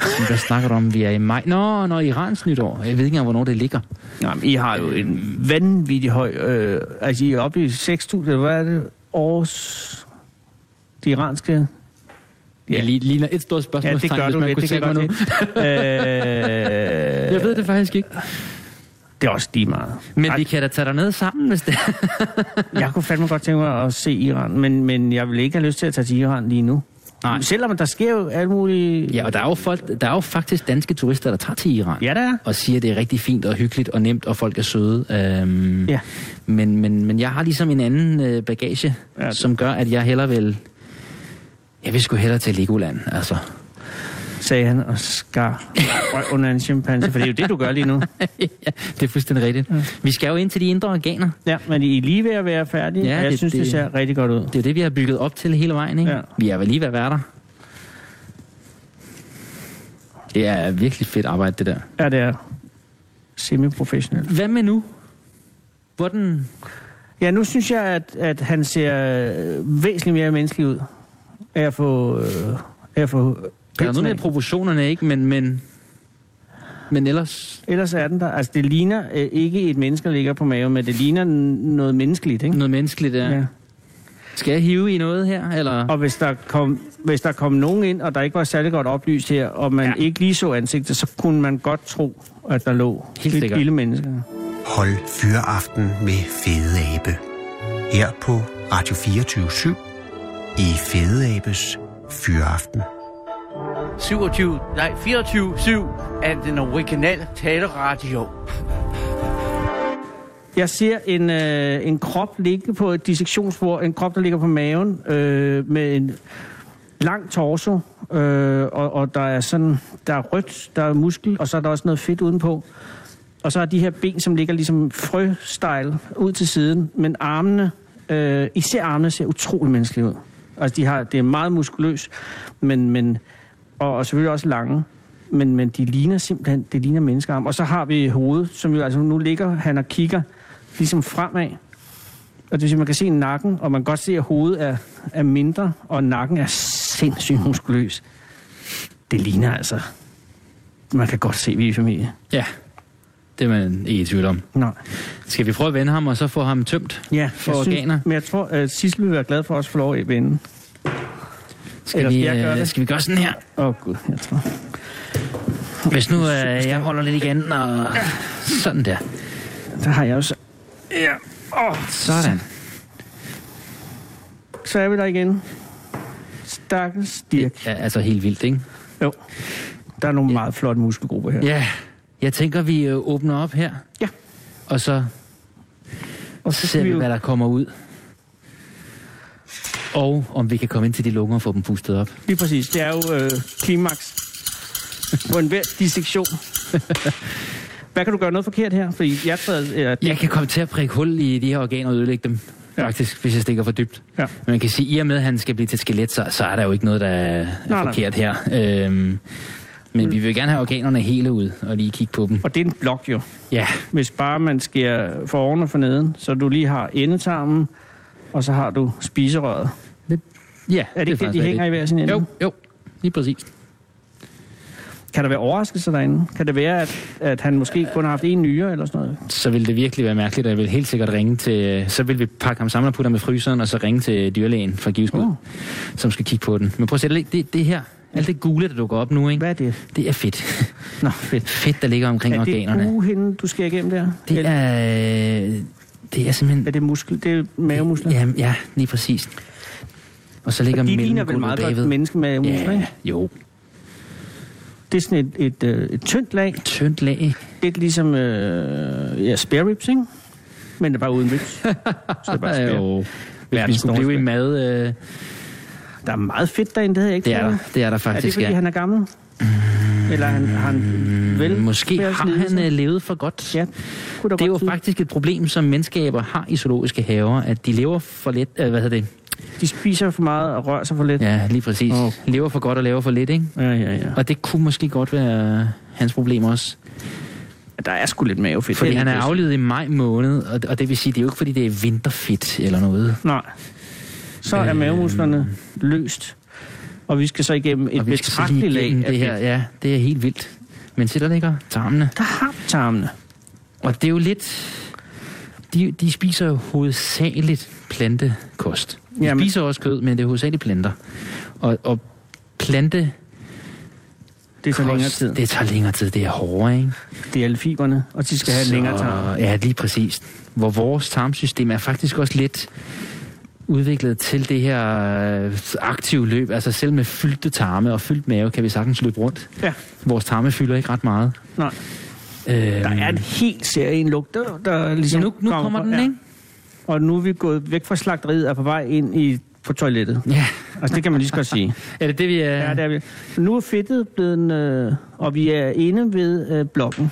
F: Men Hvad snakker du om? Vi er i maj. Nå, når Irans nytår. Jeg ved ikke engang, hvornår det ligger.
C: Jamen, I har jo en vanvittig høj... Øh, altså, I er oppe i 6.000, eller hvad er det? Års... De iranske... Ja.
F: Ja. Jeg li- ligner et stort
C: Ja, det
F: spørgsmålstegn,
C: gør
F: hvis
C: du
F: man
C: lidt,
F: kunne
C: det
F: se
C: kan jeg
F: mig nu.
C: godt lide. øh,
F: Jeg ved det faktisk ikke.
C: det er også lige meget.
F: Men
C: Ej.
F: vi kan da tage dig ned sammen, hvis det er.
C: Jeg kunne fandme godt tænke mig at se Iran, men, men jeg vil ikke have lyst til at tage til Iran lige nu.
F: Nej.
C: Selvom der sker jo alt muligt...
F: Ja, og der er, jo folk, der er jo faktisk danske turister, der tager til Iran.
C: ja der er.
F: og siger, at det er rigtig fint og hyggeligt og nemt, og folk er søde. Øhm,
C: Ja.
F: men, men, men jeg har ligesom en anden øh, bagage,
C: Ja,
F: ja,
C: det-
F: som gør, at jeg hellere vil Jeg vil sgu hellere til Legoland, altså.
C: sagde han og skar røv under en chimpanse, for det er jo det, du gør lige nu.
F: ja, det er fuldstændig rigtigt. Ja. Vi skal jo ind til de indre organer.
C: Ja, men I er lige ved at være færdige,
F: Ja,
C: ja, og jeg
F: det-
C: det, synes, det,
F: det-
C: det ser rigtig godt ud.
F: Det er jo det, vi har bygget op til hele vejen, ikke?
C: Ja.
F: Vi er vel lige ved at være der. Det er virkelig fedt arbejde, det der.
C: Ja, det er semi-professionelt.
F: Hvad med nu? Hvordan...
C: Ja, nu synes jeg, at, at han ser øh, væsentligt mere menneskelig ud. Af at få... Øh, af at få
F: Der er
C: pelsen
F: noget med
C: af.
F: proportionerne, ikke? Men, men, men ellers...
C: Ellers er den der. Altså, det ligner øh, ikke et menneske, der ligger på maven, men det ligner n- noget menneskeligt, ikke?
F: Noget menneskeligt der. Ja. Skal jeg hive i noget her, eller?
C: Og hvis der, kom, hvis der kom nogen ind, og der ikke var særlig godt oplyst her, og man ja. ikke lige så ansigtet, så kunne man godt tro, at der lå
F: Helt
C: et
F: sikkert.
C: lille menneske.
D: Hold fyreaften med Fede Abe. Her på Radio 24 i Fede Abes Fyreaften.
H: 27, nej 24-7 af den originale taleradio.
C: Jeg ser en, øh, en krop ligge på et dissektionsbord, en krop, der ligger på maven, øh, med en lang torso, øh, og, og der er sådan, der er rødt, der er muskel, og så er der også noget fedt udenpå. Og så er de her ben, som ligger ligesom frøstyle ud til siden, men armene, øh, især armene ser utrolig menneskelige ud. Altså, de har, det er meget muskuløst, men, men, og, og selvfølgelig også lange. Men, men de ligner simpelthen, det ligner menneskearm. Og så har vi hovedet, som jo altså nu ligger, han og kigger ligesom fremad. Og det vil sige, man kan se nakken, og man kan godt se, at hovedet er, er mindre, og nakken er sindssygt muskuløs. Det ligner altså... Man kan godt se, at vi er i familie.
F: Ja, det er man ikke i tvivl om.
C: Nej.
F: Skal vi prøve at vende ham, og så få ham tømt?
C: Ja,
F: For
C: jeg
F: organer.
C: Synes, men jeg tror, at Sissel vil være glad for os at få lov at vende.
F: Skal,
C: Ellers
F: vi,
C: skal jeg gøre
F: øh,
C: det.
F: skal vi gøre sådan her?
C: Åh oh, gud, jeg tror.
F: Hvis nu øh, jeg holder lidt igen, og sådan der.
C: Der har jeg også.
F: Sådan.
C: Så er vi der igen. Stakkels Dirk.
F: Ja, altså helt vildt, ikke?
C: Jo. Der er nogle meget flotte muskelgrupper her.
F: Ja, jeg tænker, vi øh, åbner op her.
C: Ja.
F: Og så, og så
C: skal
F: ser
C: vi
F: vi,
C: jo-
F: hvad der kommer ud. Og om vi kan komme ind til de lunger og få dem pustet op.
C: Lige præcis. Det er jo øh, klimaks på enhver dissektion. Hvad kan du gøre noget forkert her? Fordi jeg træder... Ja,
F: Jeg kan komme til at prikke hul i de her organer og ødelægge dem.
C: Ja.
F: Faktisk, hvis jeg stikker for dybt.
C: Ja.
F: Men man kan sige, at i og med, at han skal blive til et skelet, så, så er der jo ikke noget, der er
C: Nej,
F: nej,
C: nej.
F: forkert her. Øhm, men vi vil gerne have organerne hele ud og lige kigge på dem.
C: og det er en blok jo.
F: Ja,
C: Hvis bare man skærer for oven og for neden, så du lige har endetarmen, og så har du spiserøret.
F: ja
C: Er det ikke det, de hænger i hver sin ende?
F: Jo, jo, lige præcis.
C: Kan der være overraskelser derinde? Kan det være, at, at han måske kun har haft en nyere eller sådan noget?
F: så ville det virkelig være mærkeligt, og jeg ville helt sikkert ringe til... Så ville vi pakke ham sammen og putte ham i fryseren, og så ringe til dyrlægen fra Giveskud,
C: Uh.
F: uh. som skal kigge på den. Men prøv at se, det, det, det her, alt det gule, der dukker op nu, ikke?
C: Hvad er det?
F: det er fedt.
C: Nå, fedt.
F: fedt, der ligger omkring
C: Er det
F: organerne.
C: uhinden, du skærer igennem der?
F: Det
C: Eller
F: er, det er simpelthen...
C: er det muskel? Det er mavemuskler?
F: Ja, ja, lige præcis. Og så ligger
C: Og de ligner vel
F: mellemgulvet
C: meget
F: bagved.
C: godt menneske med muskler,
F: Ja,
C: ikke?
F: jo.
C: Det er sådan et, et, øh, et tyndt lag,
F: Tyndt lag.
C: lidt ligesom øh, ja, spare ribs, ikke? Men det er bare uden ribs. Så det er bare
F: Ja,
C: spare.
F: jo. Hvis vi
C: Verdens
F: skulle blive i mad... Øh,
C: Der er meget fedt derinde, det havde jeg ikke
F: det er
C: tænkt
F: der,
C: over.
F: det er der
C: Er det,
F: faktisk,
C: fordi
F: ja. Mm,
C: han er gammel? Eller han, har han vel...
F: Måske har han øh, levet for godt.
C: Ja, kunne der
F: Det er jo
C: godt tyde.
F: faktisk et problem, som menneskeaber har i zoologiske haver, at de lever for let... Øh, hvad hedder det?
C: De spiser for meget og rører sig for lidt.
F: Ja, lige præcis.
C: Åh.
F: Lever for godt og lever for lidt, ikke?
C: ja, ja. ja.
F: Og det kunne måske godt være hans problem også.
C: Der er sgu lidt mavefedt.
F: Fordi
C: Det
F: han er
C: lidt
F: aflevet i maj måned, og og det vil sige, det er jo ikke fordi, det er vinterfedt eller noget.
C: bedst. Nej. Så
F: Øh.
C: er mavemusklerne løst. Og vi skal så igennem et
F: og vi skal så
C: betragteligt
F: lige
C: lag
F: igennem
C: af
F: det her.
C: fedt.
F: Ja, det er helt vildt. Men se, der ligger tarmene.
C: Der har tarmene.
F: Og det er jo lidt... De, de spiser jo hovedsageligt plantekost. De
C: Jamen.
F: spiser også kød, men det er hovedsageligt planter. Og, og plante
C: Det tager længere tid.
F: Det tager længere tid, det er hårdere, ikke?
C: Det er alle fiberne, og de skal have en længere tarm.
F: Ja, lige præcis. Hvor vores tarmsystem er faktisk også lidt udviklet til det her øh, aktive løb. Altså selv med fyldte tarme og fyldt mave kan vi sagtens løbe rundt.
C: Ja,
F: Vores tarme fylder ikke ret meget.
C: nej.
F: Øh,
C: Der er en helt serie en lugt, der, der
F: så
C: ligesom...
F: nu, nu kommer
C: på-
F: den,
C: ja.
F: ikke?
C: Og nu er vi gået væk fra slagteriet og på vej ind i på toilettet.
F: Ja,
C: Altså, det kan man lige så godt sige.
F: er det det, vi er?
C: Ja, det er vi. Nu er fedtet blevet en, øh, og vi er inde ved øh, blokken.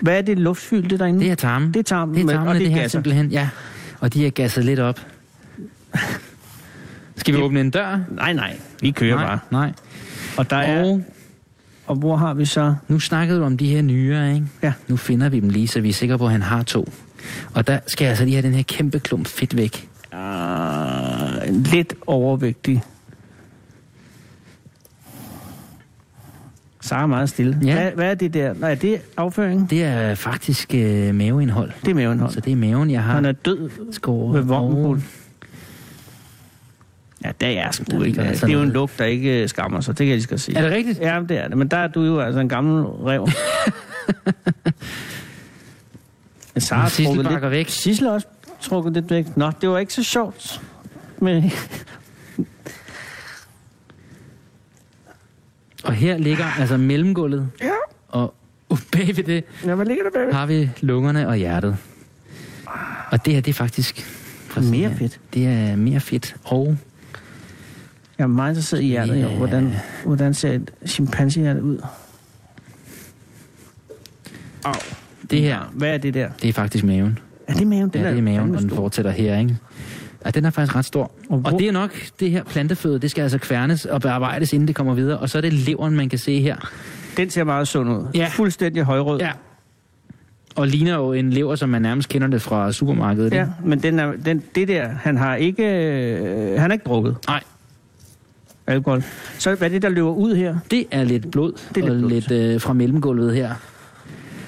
C: Hvad er det luftfyldte derinde?
F: Det er tarmen.
C: det er tarmen,
F: Det er
C: men-
F: tarmene,
C: og
F: det,
C: det er
F: det her
C: gasser.
F: simpelthen, ja. Og de er gasset lidt op. Skal vi åbne en dør?
C: Nej, nej. Vi kører
F: nej,
C: bare.
F: nej.
C: Og, der er,
F: Og
C: og hvor har vi så...
F: nu snakkede du om de her nyere, ikke?
C: Ja.
F: Nu finder vi dem lige, så vi er sikre på, at han har to. Og der skal jeg altså lige have den her kæmpe klump fedt væk. Ah,
C: Uh, lidt overvægtig. Sara er meget stille.
F: Ja.
C: Hvad, hvad er det der? Nej, det er afføring.
F: Det er faktisk øh, maveindhold.
C: Det er maven.
F: Så det er maven, jeg har
C: Han er død
F: skåret
C: med
F: over.
C: vognen. Ja, det er sgu ikke.
F: ligger
C: Altså
F: altså
C: det er jo en
F: noget.
C: lugt, der ikke øh, skammer sig. Det kan jeg lige skal sige.
F: Er det rigtigt?
C: Ja, det er det. Men der er du jo altså en gammel rev. Men Sara har
F: Sissel
C: trukket
F: bakker
C: lidt...
F: væk.
C: Sissel har også trukket lidt væk. Nå, det var ikke så sjovt. Men
F: Og her ligger altså mellemgulvet. Ja. Og uh, bag ved det
C: ja, hvad ligger der bagved?
F: har vi lungerne og hjertet. Og det her, det er faktisk... Prøv at se
C: Mere
F: her.
C: fedt.
F: Det er mere fedt. Og
C: Jeg er meget interesseret i hjertet, jo.
F: Ja.
C: Hvordan, hvordan ser et chimpansehjerte ud? Au.
F: det her,
C: Hvad er det der?
F: det er faktisk maven.
C: Er det maven? Den
F: Ja, det er maven, og den
C: stor.
F: fortsætter her, ikke? Ja, den er faktisk ret stor.
C: Og
F: Og,
C: hvor-
F: og det er nok det her planteføde, det skal altså kværnes og bearbejdes, inden det kommer videre. Og så er det leveren, man kan se her.
C: Den ser meget sund ud.
F: Ja.
C: Fuldstændig højrød.
F: Ja. Og ligner jo en lever, som man nærmest kender det fra supermarkedet.
C: ja
F: ikke?
C: men den er, den, det der, han har ikke, øh, han har ikke drukket
F: Nej,
C: alkohol. Så hvad er det, der løber ud her?
F: det er lidt blod, det
C: lidt
F: er
C: blod,
F: og lidt øh, fra mellemgulvet her.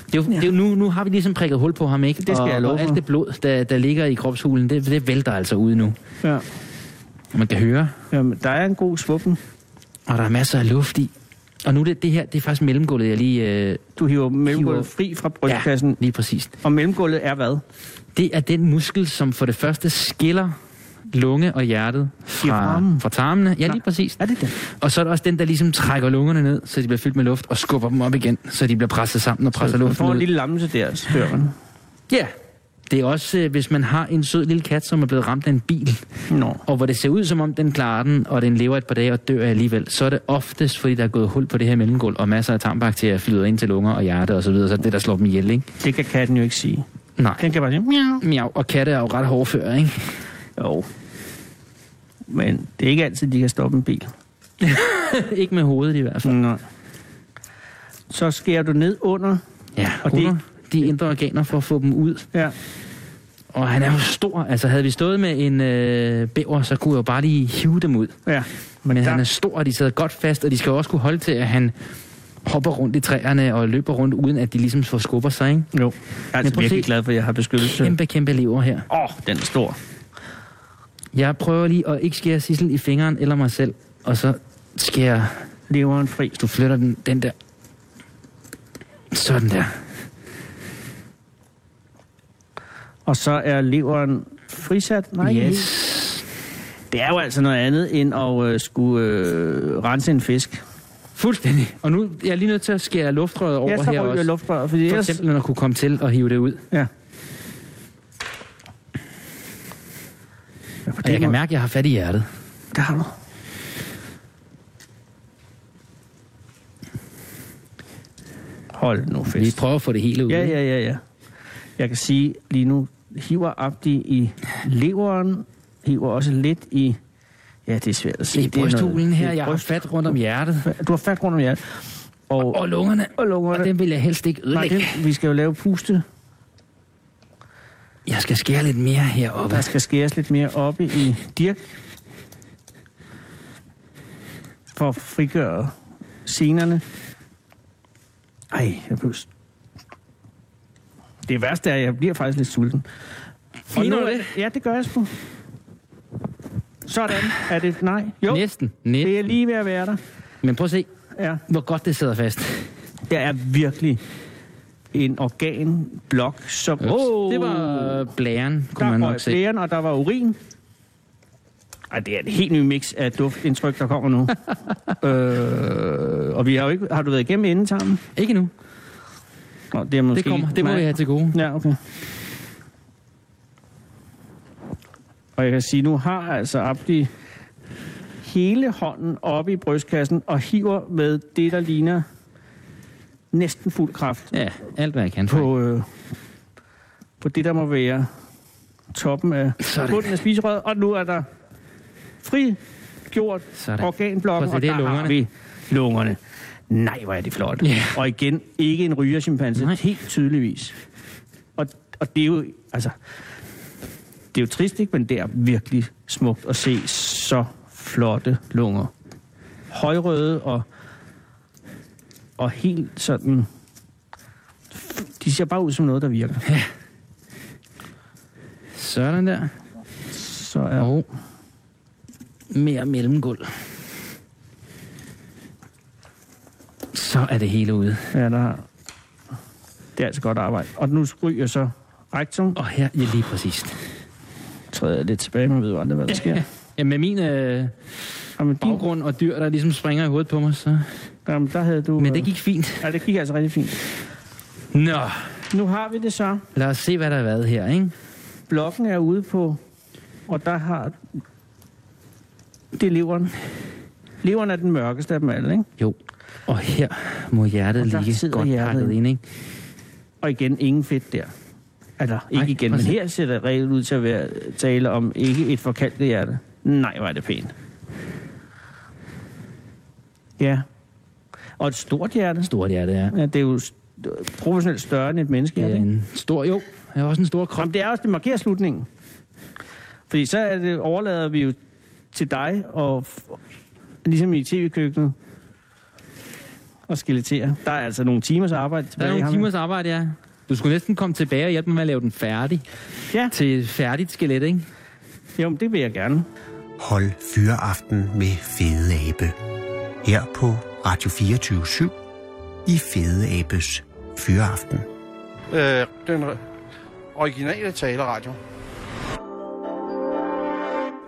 F: Det er jo, det er jo nu, nu har vi ligesom prikket hul på ham, ikke?
C: Det skal
F: og,
C: jeg love
F: og alt
C: for.
F: det blod, der, der ligger i kropshulen, det, det vælter altså ud nu.
C: Ja.
F: Og man kan høre,
C: Jamen, der er en god svuppen.
F: og der er masser af luft i. Og nu er det, det her, det er faktisk mellemgulvet, jeg lige... Øh,
C: Du hiver mellemgulvet
F: Hiver-
C: fri fra brystkassen. Ja.
F: lige præcis.
C: Og mellemgulvet er hvad?
F: Det er den muskel, som for det første skiller lunge og hjertet fra,
C: tarmen.
F: fra tarmene. Ja,
C: Nej.
F: lige præcis.
C: Er det den?
F: Og så er der også den, der ligesom trækker lungerne ned, så de bliver fyldt med luft, og skubber dem op igen, så de bliver presset sammen og presser
C: Du
F: luften
C: får en
F: ud.
C: lille lammelse der, spørger man.
F: Ja, det er også, øh, hvis man har en sød lille kat, som er blevet ramt af en bil,
C: Nå.
F: og hvor det ser ud, som om den klarer den, og den lever et par dage og dør alligevel, så er det oftest, fordi der er gået hul på det her mellemgulv, og masser af tarmbakterier flyder ind til lunger og hjerte og så videre, så er det, der slår dem ihjel, ikke?
C: Det kan katten jo ikke sige.
F: Nej.
C: Den kan bare sige, miau.
F: Miau, og katte er jo ret hårdfører, ikke?
C: Jo. Men det er ikke altid, de kan stoppe en bil.
F: ikke med hovedet i hvert fald.
C: Nå. Så skærer du ned under.
F: Mm. Ja,
C: Og
F: og
C: det-
F: under de indre organer for at få dem ud.
C: Ja.
F: Og han er jo stor. Altså, havde vi stået med en øh, bæver, så kunne jeg jo bare lige hive dem ud.
C: Ja.
F: Men, Men
C: der-
F: han er stor, og de sidder godt fast, og de skal jo også kunne holde til, at han hopper rundt i træerne og løber rundt, uden at de ligesom får skubber sig, ikke?
C: Jo. Jeg er altså
F: prøv at
C: virkelig
F: se.
C: glad for, at jeg har beskyttelse. Åh,
F: Kæmpe, kæmpe lever her.
C: oh, den er stor.
F: Jeg prøver lige at ikke skære Sissel i fingeren eller mig selv, og så skærer...
C: Leveren fri.
F: Du flytter den, den der. Sådan der.
C: Og så er leveren frisat. Nej, helt.
F: yes.
C: det er jo altså noget andet, end at øh, skulle øh, rense en fisk.
F: Fuldstændig. Og nu er jeg lige nødt til at skære luftrøret over
C: ja, så
F: her
C: ryger
F: også.
C: luftrøret, fordi
F: For
C: ellers...
F: eksempel at kunne komme til og hive det ud.
C: Ja.
F: Og jeg kan mærke, at jeg har fat i hjertet.
C: Det har du. Hold nu
F: Vi
C: fest.
F: prøver at få det hele ud.
C: Ja,
F: ikke?
C: ja, ja, ja. Jeg kan sige lige nu, hiver Abdi i leveren, hiver også lidt i... Ja, det er svært at se.
F: I
C: Det er noget-
F: brysthulen her,
C: det er
F: jeg har
C: bryst-
F: fat rundt om hjertet.
C: Du har fat rundt om hjertet. Og,
F: Og lungerne.
C: og lungerne.
F: Og den vil jeg helst ikke
C: Nej,
F: ødelægge.
C: det, vi skal jo lave puste.
F: Jeg skal skære lidt mere
C: Og
F: heroppe.
C: der skal skæres lidt mere oppe i Dirk. For at frigøre scenerne. Ej, jeg blev... s- Det værste er, at jeg bliver faktisk lidt sulten. Og
F: Fint
C: nu
F: var
C: er
F: det.
C: Ja, det gør jeg sgu. Sådan. Er det... Nej. Jo,
F: Næsten.
C: det er
F: Næsten.
C: lige ved at være der.
F: Men prøv at se,
C: Ja.
F: hvor godt det sidder fast.
C: Der er virkelig en organblok, som...
F: Ups. Det var blæren, kunne
C: der
F: man
C: røg
F: nok se.
C: blæren, og der var urin. Ej, det er et helt ny mix af duftindtryk, der kommer nu. øh, og vi har jo ikke... Har du været igennem inden sammen?
F: Ikke nu.
C: Nå, det, er måske
F: Det kommer. Det må
C: nej.
F: jeg have til gode.
C: Ja, okay. Og jeg kan sige, nu har altså Abdi hele hånden op i brystkassen og hiver med det, der ligner næsten fuld kraft
I: Ja, alt hvad jeg kan. Frank.
C: på, øh, på det, der må være toppen af
I: Sådan.
C: bunden af spiserøret. Og nu er der frigjort
I: Sådan.
C: organblokken,
I: Prøv
C: og
I: at se,
C: der
I: det er
C: har
I: lungerne.
C: vi lungerne. Nej, hvor er det flot.
I: Ja.
C: Og igen, ikke en rygerchimpanse,
I: Nej.
C: helt tydeligvis. Og, og det er jo, altså, det er jo trist, ikke? men det er virkelig smukt at se så flotte lunger. Højrøde og, og helt sådan... De ser bare ud som noget, der virker.
I: Sådan der.
C: Så er
I: Og mere mellemgulv. Så er det hele ude.
C: Ja, der har. Det er altså godt arbejde. Og nu ryger så rektum.
I: Og her ja, lige præcis.
C: Træder jeg lidt tilbage, man ved jo aldrig, hvad der sker.
I: Ja, med min øh,
C: Jamen, din,
I: baggrund og dyr, der ligesom springer i hovedet på mig, så...
C: jamen, der havde du...
I: Men det
C: øh,
I: gik fint.
C: Ja, det gik altså rigtig fint.
I: Nå,
C: Nu har vi det så.
I: lad os se, hvad der har været her, ikke?
C: Blokken er ude på... Og der har... Det er leveren. Leveren er den mørkeste af dem alle, ikke?
I: Jo. Og her må hjertet
C: Og der
I: ligge
C: sidder
I: godt
C: hjertet
I: pakket
C: i.
I: ind, ikke?
C: Og igen, ingen fedt der. Altså, ikke
I: Nej,
C: igen,
I: prøv
C: men
I: at se.
C: her ser det reelt ud til at være tale om ikke et forkaldt hjerte. Nej, hvor er det pænt. Ja. Og et stort hjerte.
I: Stort hjerte, ja.
C: Ja, det er jo st- proportionelt større end et menneske.
I: Det
C: Ja,
I: er
C: det.
I: en stor, jo. Jeg har også en stor krop.
C: Jamen, det er også, det markerer slutningen. Fordi så er det, overlader vi jo til dig, og f- ligesom i tv-køkkenet, og skeletere. Der er altså nogle timers arbejde
I: Der er
C: tilbage.
I: nogle
C: Hamid.
I: timers arbejde, ja. Du skulle næsten komme tilbage og hjælpe mig med at lave den færdig.
C: Ja,
I: Til færdigt skelet, ikke?
C: jo, men det vil jeg gerne.
D: Hold fyreaften med Fede Abe. Her på Radio 24 i Fede Abes Fyreaften.
H: Øh, den re- originale taleradio.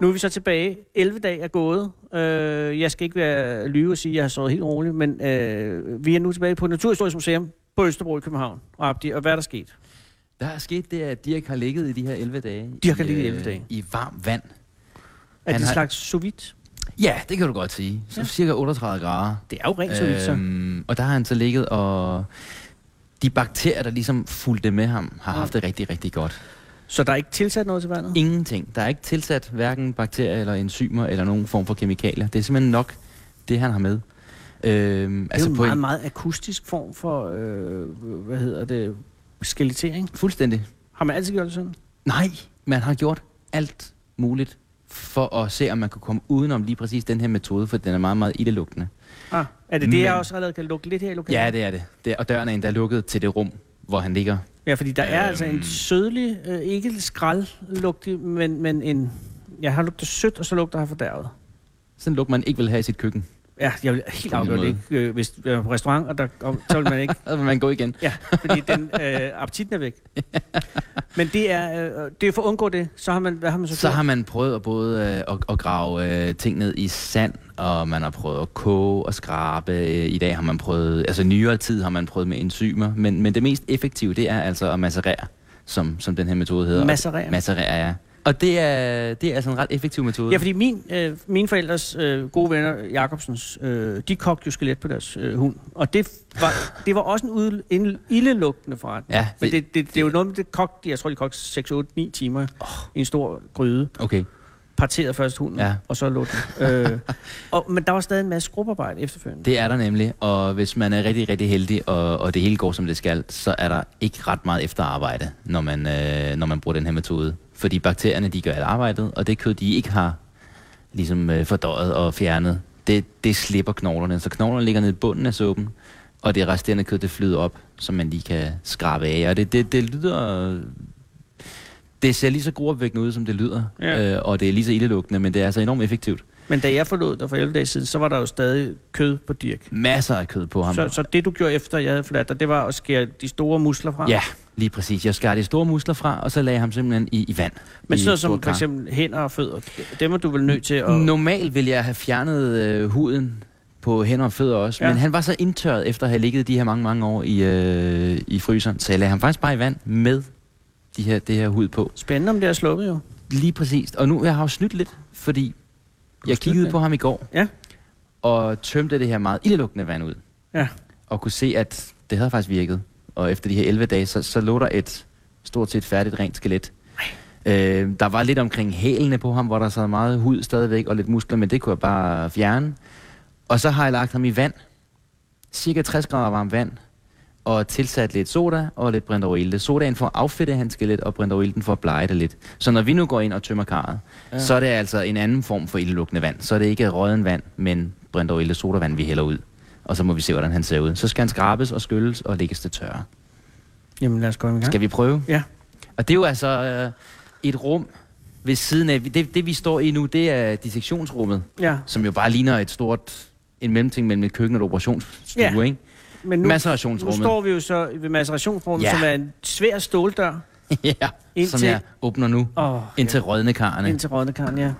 C: Nu er vi så tilbage. 11 dage er gået. Øh, jeg skal ikke være lyve og sige, at jeg har sovet helt roligt, men øh, vi er nu tilbage på Naturhistorisk Museum på Østerbro i København. Og, Abdi, og hvad er der sket?
F: Der er sket det, at Dirk har ligget i de her 11 dage.
C: Dirk har
F: i,
C: ligget i
F: øh,
C: 11 dage.
F: I varmt vand.
C: Er
F: Han
C: det en
F: har-
C: slags sous vide?
F: Ja, det kan du godt sige. Så
C: Ja.
F: ja. cirka 38 grader.
C: Det er jo rent sous vide, så.
F: Øhm, og der har han så ligget, og de bakterier, der ligesom fulgte med ham,
C: Mm.
F: har haft det rigtig, rigtig godt.
C: Så der er ikke tilsat noget til vandet?
F: Ingenting. Der er ikke tilsat hverken bakterier eller enzymer eller nogen form for kemikalier. Det er simpelthen nok, det han har med. Øhm,
C: Det er altså en
F: på
C: meget, meget akustisk form for, øh, hvad hedder det, skelettering.
F: Fuldstændig.
C: Har man altid gjort det sådan?
F: Nej, man har gjort alt muligt for at se, om man kunne komme udenom lige præcis den her metode, for den er meget, meget ildelugtende.
C: Ah, er det det, jeg
F: Men-
C: også allerede kan lukke lidt her i lokalet?
F: Ja, det er det. det er, og døren er endda lukket til det rum, hvor han ligger.
C: Ja, fordi der er altså en sødlig, øh, ikke skraldlugtig, men, men en... Jeg har lugtet sødt, og så lugter jeg fordærvet.
F: Sådan lukker man ikke vil have i sit køkken.
C: Ja, jeg vil helt
F: På den
C: afgjort
F: måde.
C: ikke, øh, hvis jeg var på restaurant, og der, og, så vil man ikke.
F: Så vil man gå igen.
C: Ja, fordi den, øh, appetitten er væk. Men det er, øh, det er for at undgå det, så har man, hvad har man så,
F: Så
C: gjort?
F: har man prøvet at både øh, at, at grave øh, ting ned i sand, og man har prøvet at koge og skrabe. Øh, I dag har man prøvet, altså nyere tid har man prøvet med enzymer, men, men det mest effektive, det er altså at masserere, som, som den her metode hedder.
C: Masserere?
F: Masserere, ja. Og det er, det er altså en ret effektiv metode.
C: Ja, fordi min, øh, mine forældres øh, gode venner, Jacobsens, øh, de kogte jo skelet på deres øh, hund. Og det var, det var også en, ude, en ildelugtende forretning.
F: Ja,
C: Men det, det, det er jo noget med det kogte, jeg tror, de kogte 6, 8, 9 timer oh. i en stor gryde.
F: Okay.
C: Parteret først hunden, ja.
F: Ja.
C: og så lå den. øh, og, men der var stadig en masse skrubarbejde efterfølgende. Det.
F: Det er der nemlig, og hvis man er rigtig, rigtig heldig, og, og det hele går, som det skal, så er der ikke ret meget efterarbejde, når man, øh, når man bruger den her metode. Fordi bakterierne, de gør alt arbejdet, og det kød, de ikke har ligesom øh, fordøjet og fjernet, det, det slipper knoglerne. Så knoglerne ligger nede i bunden af suppen, og det resterende kød, det flyder op, som man lige kan skrabe af. Og det, det, det lyder... øh, Det ser lige så gruopvækkende ud, som det lyder,
C: Ja.
F: ja. øh, og det er lige så ildelugtende, men det er altså enormt effektivt.
C: Men da jeg forlod dig for 11 dage siden, så var der jo stadig kød på Dirk.
F: Masser af kød på ham.
C: Så, så det, du gjorde efter, jeg havde forladt dig, det var at skære de store musler fra?
F: Ja, lige præcis. Jeg skar de store muskler fra, og så lagde jeg ham simpelthen i, i vand.
C: Men
F: I
C: sådan noget
F: store
C: som for
F: kar.
C: eksempel hænder og fødder, dem er du vel nødt til at...
F: Normalt ville jeg have fjernet øh, huden på hænder og fødder også,
C: Ja.
F: ja. men han var så indtørret efter at have ligget de her mange, mange år i, øh, i fryseren, så jeg lagde ham faktisk bare i vand med de her, det her hud på.
C: Spændende, om det er sluppet jo.
F: Lige præcis. Og nu jeg har jo snydt lidt, fordi Jeg kiggede
C: støtte
F: på ham i går,
C: Ja.
F: og tømte det her meget ildelugtende vand ud.
C: Ja.
F: Og kunne se, at det havde faktisk virket. Og efter de her 11 dage, så, så lå der et stort set færdigt rent skelet. Øh, der var lidt omkring hælene på ham, hvor der sad meget hud stadigvæk og lidt muskler, men det kunne jeg bare fjerne. Og så har jeg lagt ham i vand. Cirka 60 grader varmt vand. Og tilsat lidt soda og lidt brintorilde. Sodaen for at affedte hans skelet, og brintorilden for at blege det lidt. Så når vi nu går ind og tømmer karret, ja. så er det altså en anden form for ildelugtende vand. Så er det ikke rødden vand, men brintorilde sodavand, vi hælder ud. Og så må vi se, hvordan han ser ud. Så skal han skrabes og skylles og lægges til tørre.
C: Jamen lad os gå i gang.
F: Skal vi prøve?
C: Ja.
F: Og det er jo altså øh, et rum ved siden af... Det, det, vi står i nu, det er dissektionsrummet,
C: Ja,
F: som jo bare ligner et stort... En mellemting mellem et køkken og et operationsstue,
C: Ja.
F: ja. ikke?
C: men nu, nu
F: Macerationsrummet.
C: står vi jo så ved macerationsrummet, ja.
F: Ja.
C: som er en svær ståldør.
F: ja,
C: Indtil-
F: som jeg åbner nu.
C: Åh,
F: Indtil rødne karrene.
C: Indtil Rådnekarn, ja.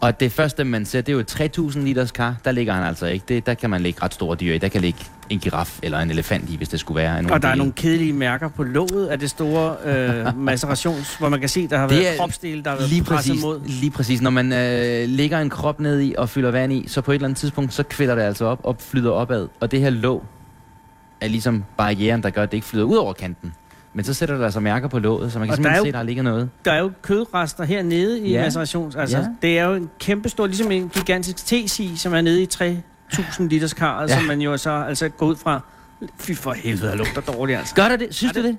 F: Og det første, man ser, det er jo et 3000 liters kar. Der ligger han altså ikke. Det, der kan man lægge ret store dyr i. Der kan ligge en giraf eller en elefant i, hvis det skulle være. af nogle
C: Og der er
F: dele.
C: nogle kedelige mærker på låget af det store øh, macerations, hvor man kan se, der har
F: Det
C: været
F: er
C: kropsdele, der har været
F: Lige
C: presset
F: præcis,
C: mod.
F: lige præcis. Når man øh, lægger en krop ned i og fylder vand i, så på et eller andet tidspunkt, så kvæller det altså op og flyder opad. Og det her låg er ligesom barrieren, der gør, at det ikke flyder ud over kanten. Men så sætter der altså mærker på låget, så man kan
C: Og
F: simpelthen
C: der er jo-
F: se, der ligger noget.
C: Der er jo kødrester hernede i ja.
F: Ja.
C: macerations. Altså, ja.
F: Ja.
C: det er jo en kæmpe stor, ligesom en gigantisk tesi, som er nede i 3000 liters kar, ja.
F: Ja.
C: som man jo så altså går ud fra. Fy for helvede, der lugter dårligt, altså.
F: Gør der det? Synes
C: Er
F: du det?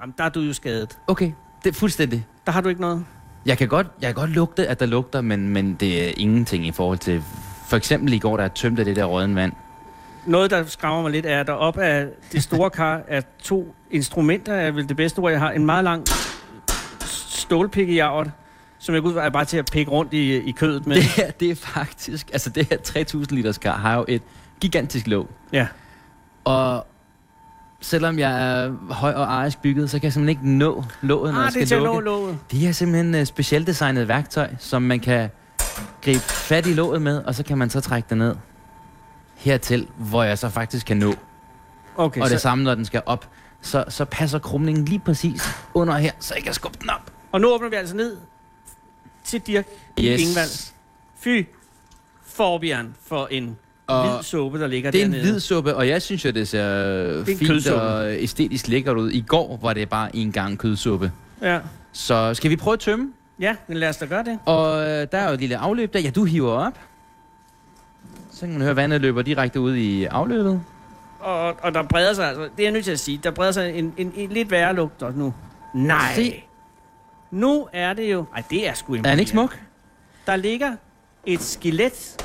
C: Jamen, der er du jo skadet.
F: Okay, det er fuldstændig.
C: Der har du ikke noget.
F: Jeg kan godt, jeg kan godt lugte, at der lugter, men, men det er ingenting i forhold til... For eksempel i går, der er tømt af det der rødden vand.
C: Noget, der skræmmer mig lidt, er, at der op af det store kar er to instrumenter, er vel det bedste ord, jeg har. En meget lang stålpikkejavret, som jeg går ud fra er bare til at pikke rundt i, i kødet med.
F: Det her, det er faktisk... Altså, det her 3000 liters kar har jo et gigantisk låg.
C: Ja.
F: Og selvom jeg er høj og arisk bygget, så kan jeg simpelthen ikke nå låget, når
C: Ah,
F: jeg
C: det er
F: skal
C: til at nå
F: lukke.
C: låget.
F: Det er simpelthen uh, specielt designet værktøj, som man kan gribe fat i låget med, og så kan man så trække det ned hertil, hvor jeg så faktisk kan nå. Okay,
C: Okay,
F: og
C: og,
F: det
C: så,
F: samme, når den skal op, så, så passer krumningen lige præcis under her, så jeg kan skubbe den op.
C: og nu åbner vi altså ned til Dirk yes. Ingvald. Fy for, Bjørn, for en og hvid
F: Og
C: såpe, der ligger
F: det er en
C: dernede.
F: hvid suppe, og jeg synes jo, det ser
C: en
F: fint
C: kødsuppe.
F: og æstetisk lækkert ud. I går var det bare en gang kødsuppe.
C: Ja.
F: Så skal vi prøve at tømme?
C: ja, men lad os da gøre det.
F: Og øh, der er jo et lille afløb der. Ja, du hiver op. Så kan man høre, at vandet løber direkte ud i afløbet.
C: Og, og der breder sig, altså, det er jeg nødt til at sige, der breder sig en, en, en lidt værre lugt også nu. Nej. Se. Nu er det jo... Ej, det er sgu
F: Er han
C: imponerende.
F: ikke smuk?
C: Der ligger et skelet,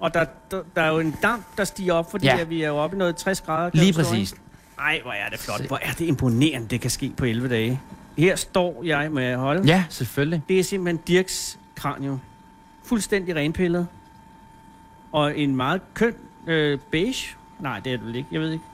C: og der, der, der er jo en damp, der stiger op, fordi
F: Ja.
C: ja. vi er jo oppe i noget 60 grader. kan
F: Lige
C: jeg forstå,
F: præcis.
C: ikke? Ej, hvor er det flot. Hvor er det imponerende, det kan ske på 11 dage. Her står jeg med holde.
F: Ja, selvfølgelig.
C: Det er simpelthen Dirks kranium. Fuldstændig renpillet. Og en meget køn øh, beige. Nej, det er det vel ikke. Jeg ved ikke.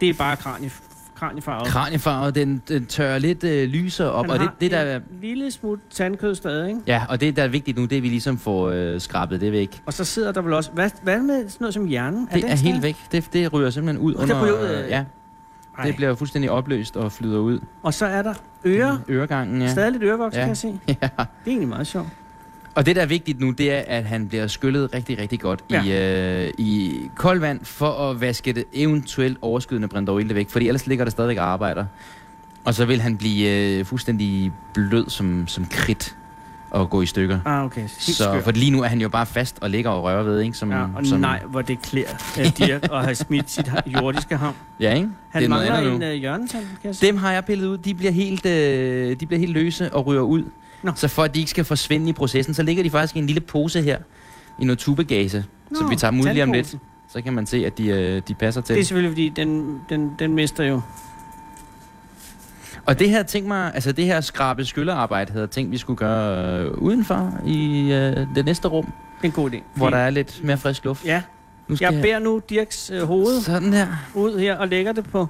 C: Det er bare kranie, kraniefarvet.
F: Kraniefarvet, den, den tørrer lidt øh, lysere op.
C: Han
F: Og det,
C: har
F: det, der, er-
C: en lille smut tandkød stadig, ikke?
F: ja, og det, der er vigtigt nu, det er, at vi ligesom får øh, skrabet det væk.
C: Og så sidder der vel også... Hvad, hvad med sådan noget som hjernen?
F: Det
C: den
F: er helt
C: stadig-
F: væk. Det, det ryger simpelthen ud
C: det
F: under...
C: ryger ud, øh,
F: ja,
C: Ej.
F: det bliver fuldstændig opløst og flyder ud.
C: Og så er der ører.
F: Øregangen,
C: Ja.
F: Mm, ja.
C: Stadig lidt ørevoks, ja.
F: Ja.
C: kan jeg se. Det
F: ja.
C: er egentlig meget sjovt.
F: Og det, der er vigtigt nu, det er, at han bliver skyllet rigtig, rigtig godt ja. i, øh, i koldt vand, for at vaske det eventuelt overskydende brintorilde væk, fordi ellers ligger der stadigvæk og arbejder. Og så vil han blive øh, fuldstændig blød som, som kridt og gå i stykker.
C: Ah, okay. Helt
F: Så,
C: skørt.
F: for lige nu er han jo bare fast og ligger og rører ved, ikke? Som,
C: Ja, og
F: som,
C: nej, hvor det klæder uh, Dirk at have smidt sit ha- jordiske ham.
F: Ja, ikke?
C: Han
F: det er noget
C: mangler
F: andet
C: en
F: nu.
C: uh, hjørnetand, kan jeg se.
F: Altså. Dem har jeg pillet ud. De bliver helt, øh, de bliver helt løse og ryger ud.
C: Nå.
F: Så for at de ikke skal forsvinde i processen, så ligger de faktisk i en lille pose her. I noget tubegase. så vi tager dem ud lige om lidt.
C: tandposen.
F: Så kan man se, at de, øh, de passer til.
C: Det er selvfølgelig, fordi den, den, den mister jo.
F: Og det her, tænk mig, altså det her skrabe skyllerarbejde, havde jeg tænkt, vi skulle gøre øh, udenfor i øh, det næste rum,
C: Det er en god idé.
F: hvor der er lidt mere frisk luft.
C: Ja,
F: Nu
C: jeg bærer nu Dirks øh, hoved
F: sådan her.
C: ud her og lægger det på, på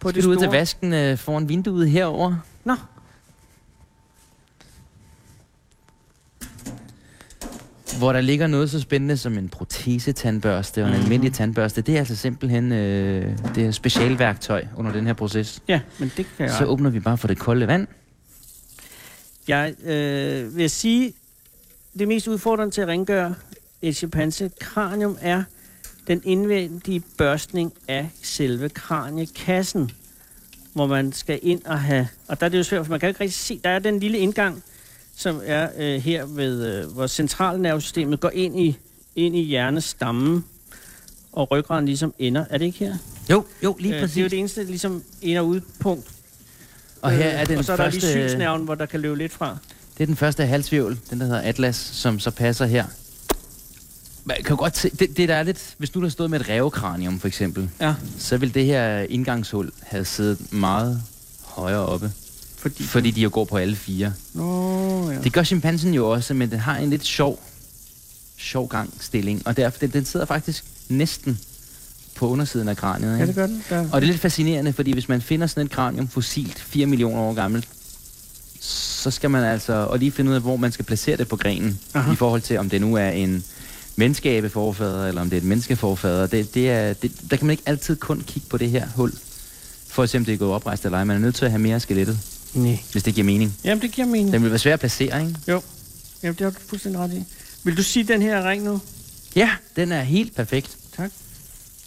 F: På
C: det
F: det ud
C: store.
F: til vasken øh, foran vinduet herover.
C: Nå.
F: Hvor der ligger noget så spændende som en protesetandbørste
C: Mhm.
F: og en almindelig tandbørste. Det er altså simpelthen øh, det er specialværktøj under den her proces.
C: Ja, men det kan jeg.
F: Så åbner vi bare for det kolde vand.
C: Jeg øh, vil sige, det mest udfordrende til at rengøre et chimpansekranium er den indvendige børstning af selve kraniekassen, hvor man skal ind og have... Og der er det jo svært, for man kan jo ikke rigtig se... Der er den lille indgang, som er øh, her ved, øh, hvor centralnervesystemet går ind i, ind i hjernestammen, og ryggraden ligesom ender. Er det ikke her?
F: Jo, jo,
C: Øh, Det er jo det eneste ligesom ind- og udpunkt.
F: Og her er
C: Øh,
F: den
C: og så er
F: første,
C: der lige synsnerven, hvor der kan løbe lidt fra.
F: det er den første halsvivl, den der hedder Atlas, som så passer her. Man kan jo godt se, det, det der er lidt, hvis nu der stod med et rævekranium for eksempel,
C: Ja.
F: så vil det her indgangshul have siddet meget højere oppe,
C: Fordi...
F: fordi de jo går på alle fire.
C: Nå, ja.
F: Det gør chimpansen jo også, men den har en lidt sjov, sjov gangstilling, og derfor, den, den sidder faktisk næsten på undersiden af kraniet.
C: Ja,
F: Ikke?
C: det gør den. Der...
F: Og det er lidt fascinerende, fordi hvis man finder sådan et kranium fossilt, 4 millioner år gammelt, så skal man altså og lige finde ud af, hvor man skal placere det på grenen, Aha. i forhold til, om det nu er en menneskeabeforfader, eller om det er et menneskeforfader. Det, det er, det, der kan man ikke altid kun kigge på det her hul, for at se, om det er gået oprejst eller ej. Man er nødt til at have mere af skelettet,
C: Nej.
F: hvis det giver mening.
C: Jamen, det giver mening.
F: Den vil være svær at placere, ikke?
C: Jo. Jamen, det har du fuldstændig ret i. Vil du sige den her ring nu?
F: Ja, den er helt perfekt.
C: Tak.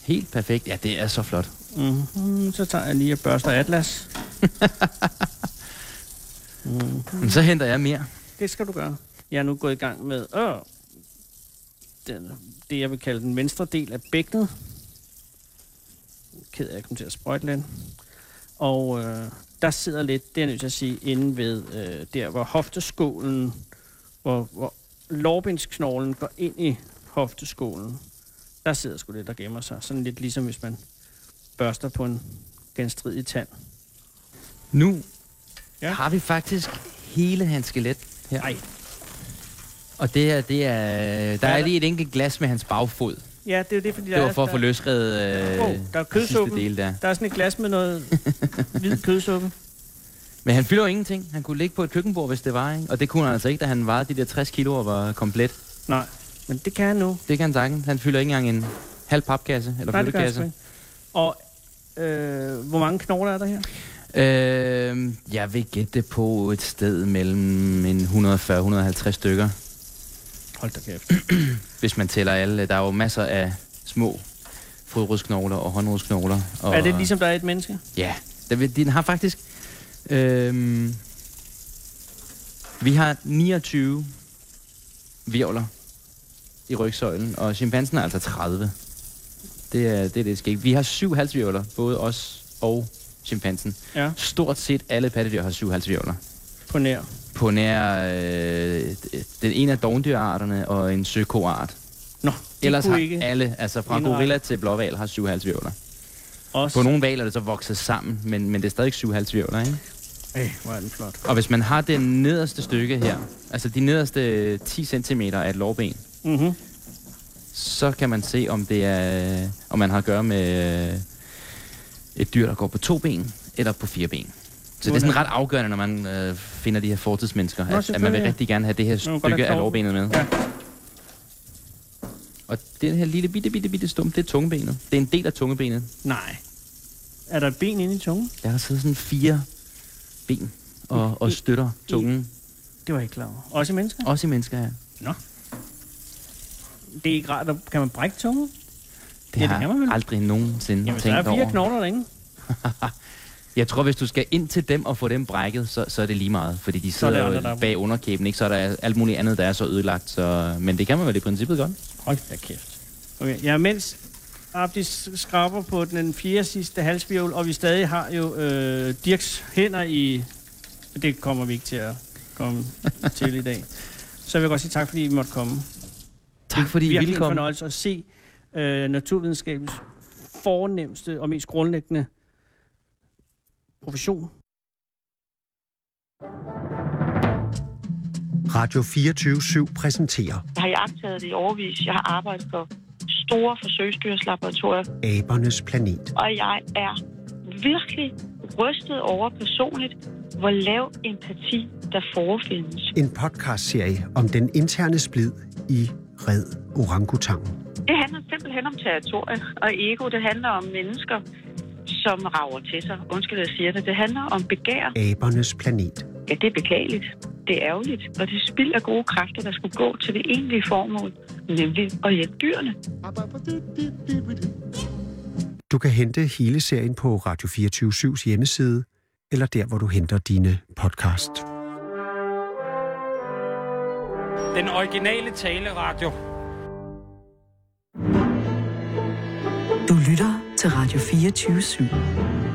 F: Helt perfekt. Ja, det er så flot.
C: Mm-hmm. Så tager jeg lige og børster atlas.
F: Men så henter jeg mere.
C: Det skal du gøre. Jeg er nu gået i gang med øh, den, det, jeg vil kalde den venstre del af bækkenet. Ked af, at jeg kom til at sprøjte lidt. Og øh, der sidder lidt, det er jeg nødt til at sige, inde ved øh, der, hvor hofteskålen, hvor, hvor lårbensknoglen går ind i hofteskålen. Der sidder sgu lidt og gemmer sig. Sådan lidt ligesom hvis man børster på en genstridig tand.
F: Nu
C: Ja.
F: ja. har vi faktisk hele hans skelet her.
C: Ej.
F: Og det her, det er... Der
C: Ja,
F: er
C: der-
F: lige et enkelt glas med hans bagfod.
C: Ja, det er jo det, fordi der
F: Det var
C: er-
F: for at
C: der-
F: få løsredet øh,
C: Åh, der er
F: den sidste
C: kødsuppen.
F: del der.
C: Der er sådan et glas med noget hvid kødsuppe.
F: Men han fylder jo ingenting. Han kunne ligge på et køkkenbord, hvis det var, ikke? Og det kunne han altså ikke, da han vejede de der 60 kilo og var komplet.
C: Nej, men det kan jeg nu.
F: Det kan han sagtens. Han fylder ikke engang en halv papkasse eller
C: Nej, det gør jeg sgu
F: flyttekasse.
C: ikke. Og øh, hvor mange knogler er der her?
F: Øh, jeg vil gætte på et sted mellem en 140-150 stykker,
C: Hold da kæft.
F: hvis man tæller alle. Der er jo masser af små fodrodsknogler og håndrodsknogler. Og,
C: Er det ligesom, der er et menneske?
F: Ja, der vil- den har faktisk... Øh, vi har 29 virvler i rygsøjlen, og chimpansen er altså 30. Det er det, er det skægt. Vi har syv halsvirvler, både os og chimpansen.
C: Ja,
F: Stort set alle pattedyr har syv halsvirvler.
C: på nær.
F: På nær øh, den ene af dovendyrarterne og en søkoart.
C: Nå, de
F: Ellers
C: kunne
F: har
C: ikke
F: alle, altså fra
C: indrette-
F: gorilla til blåval, har syv halsvirvler.
C: også.
F: På nogle valer er det så vokset sammen, men, men det er stadig syv halsvirvler, ikke?
C: Ej, hvor er den flot.
F: Og hvis man har det nederste stykke her, altså de nederste 10 cm af et lårben,
C: Mm-hmm.
F: så kan man se, om, det er, om man har at gøre med øh, et dyr, der går på to ben eller på fire ben. Så det er sådan ret afgørende, når man øh, finder de her fortidsmennesker,
C: Nå,
F: at, at man vil
C: selvfølgelig, ja.
F: rigtig gerne have det her
C: Man vil godt have
F: stykke af
C: knogle.
F: lårbenet med.
C: Ja.
F: Og den her lille bitte, bitte, bitte stump, det er tungebenet. Det er en del af tungebenet.
C: Nej. Er der et ben inde i tungen?
F: Der har siddet sådan fire ben og, og støtter tungen.
C: Det var jeg ikke klar over. Også i mennesker?
F: Også i mennesker her.
C: Det er ikke rart. at- Kan man brække tungen?
F: Det
C: Ja, det
F: har
C: kan
F: jeg
C: man vel.
F: aldrig nogensinde
C: Jamen, der er
F: tænkt
C: fire
F: over.
C: knogler derinde.
F: Jeg tror, hvis du skal ind til dem og få dem brækket, så, så er det lige meget. Fordi de
C: Så er det
F: sidder
C: andre, der
F: jo
C: er-
F: bag underkæben, ikke? Så er der alt muligt andet, der er så ødelagt. Så... Men det kan man vel i princippet godt.
C: Hold da kæft. Okay, ja, mens Abdis skraber på den fjerde sidste halsvirvel, og vi stadig har jo øh, Dirks hænder i... Det kommer vi ikke til at komme til i dag. Så vil jeg godt sige tak, fordi I måtte komme.
F: Tak fordi I
C: Virkelig
F: ville
C: en
F: komme.
C: fornøjelse at se øh, naturvidenskabens fornemmeste og mest grundlæggende profession.
D: Radio 24 præsenterer
J: Jeg har jagtet det i overvis. Jeg har arbejdet på store forsøgsdyrslaboratorier,
D: Abernes Planet.
J: og jeg er virkelig rystet over personligt, hvor lav empati der forefindes.
D: En podcastserie om den interne splid i Red Orangutangen.
J: Det handler simpelthen om territorier og ego. Det handler om mennesker, som rager til sig. Undskyld, jeg siger det. Det handler om begær.
D: Abernes Planet.
J: Ja, det er beklageligt. det er ærgerligt, og det spilder gode kræfter, der skulle gå til det egentlige formål, nemlig at hjælpe dyrene.
D: Du kan hente hele serien på Radio 24-7's hjemmeside, eller der, hvor du henter dine podcast.
G: Den originale taleradio.
A: Du lytter til Radio 24 /7.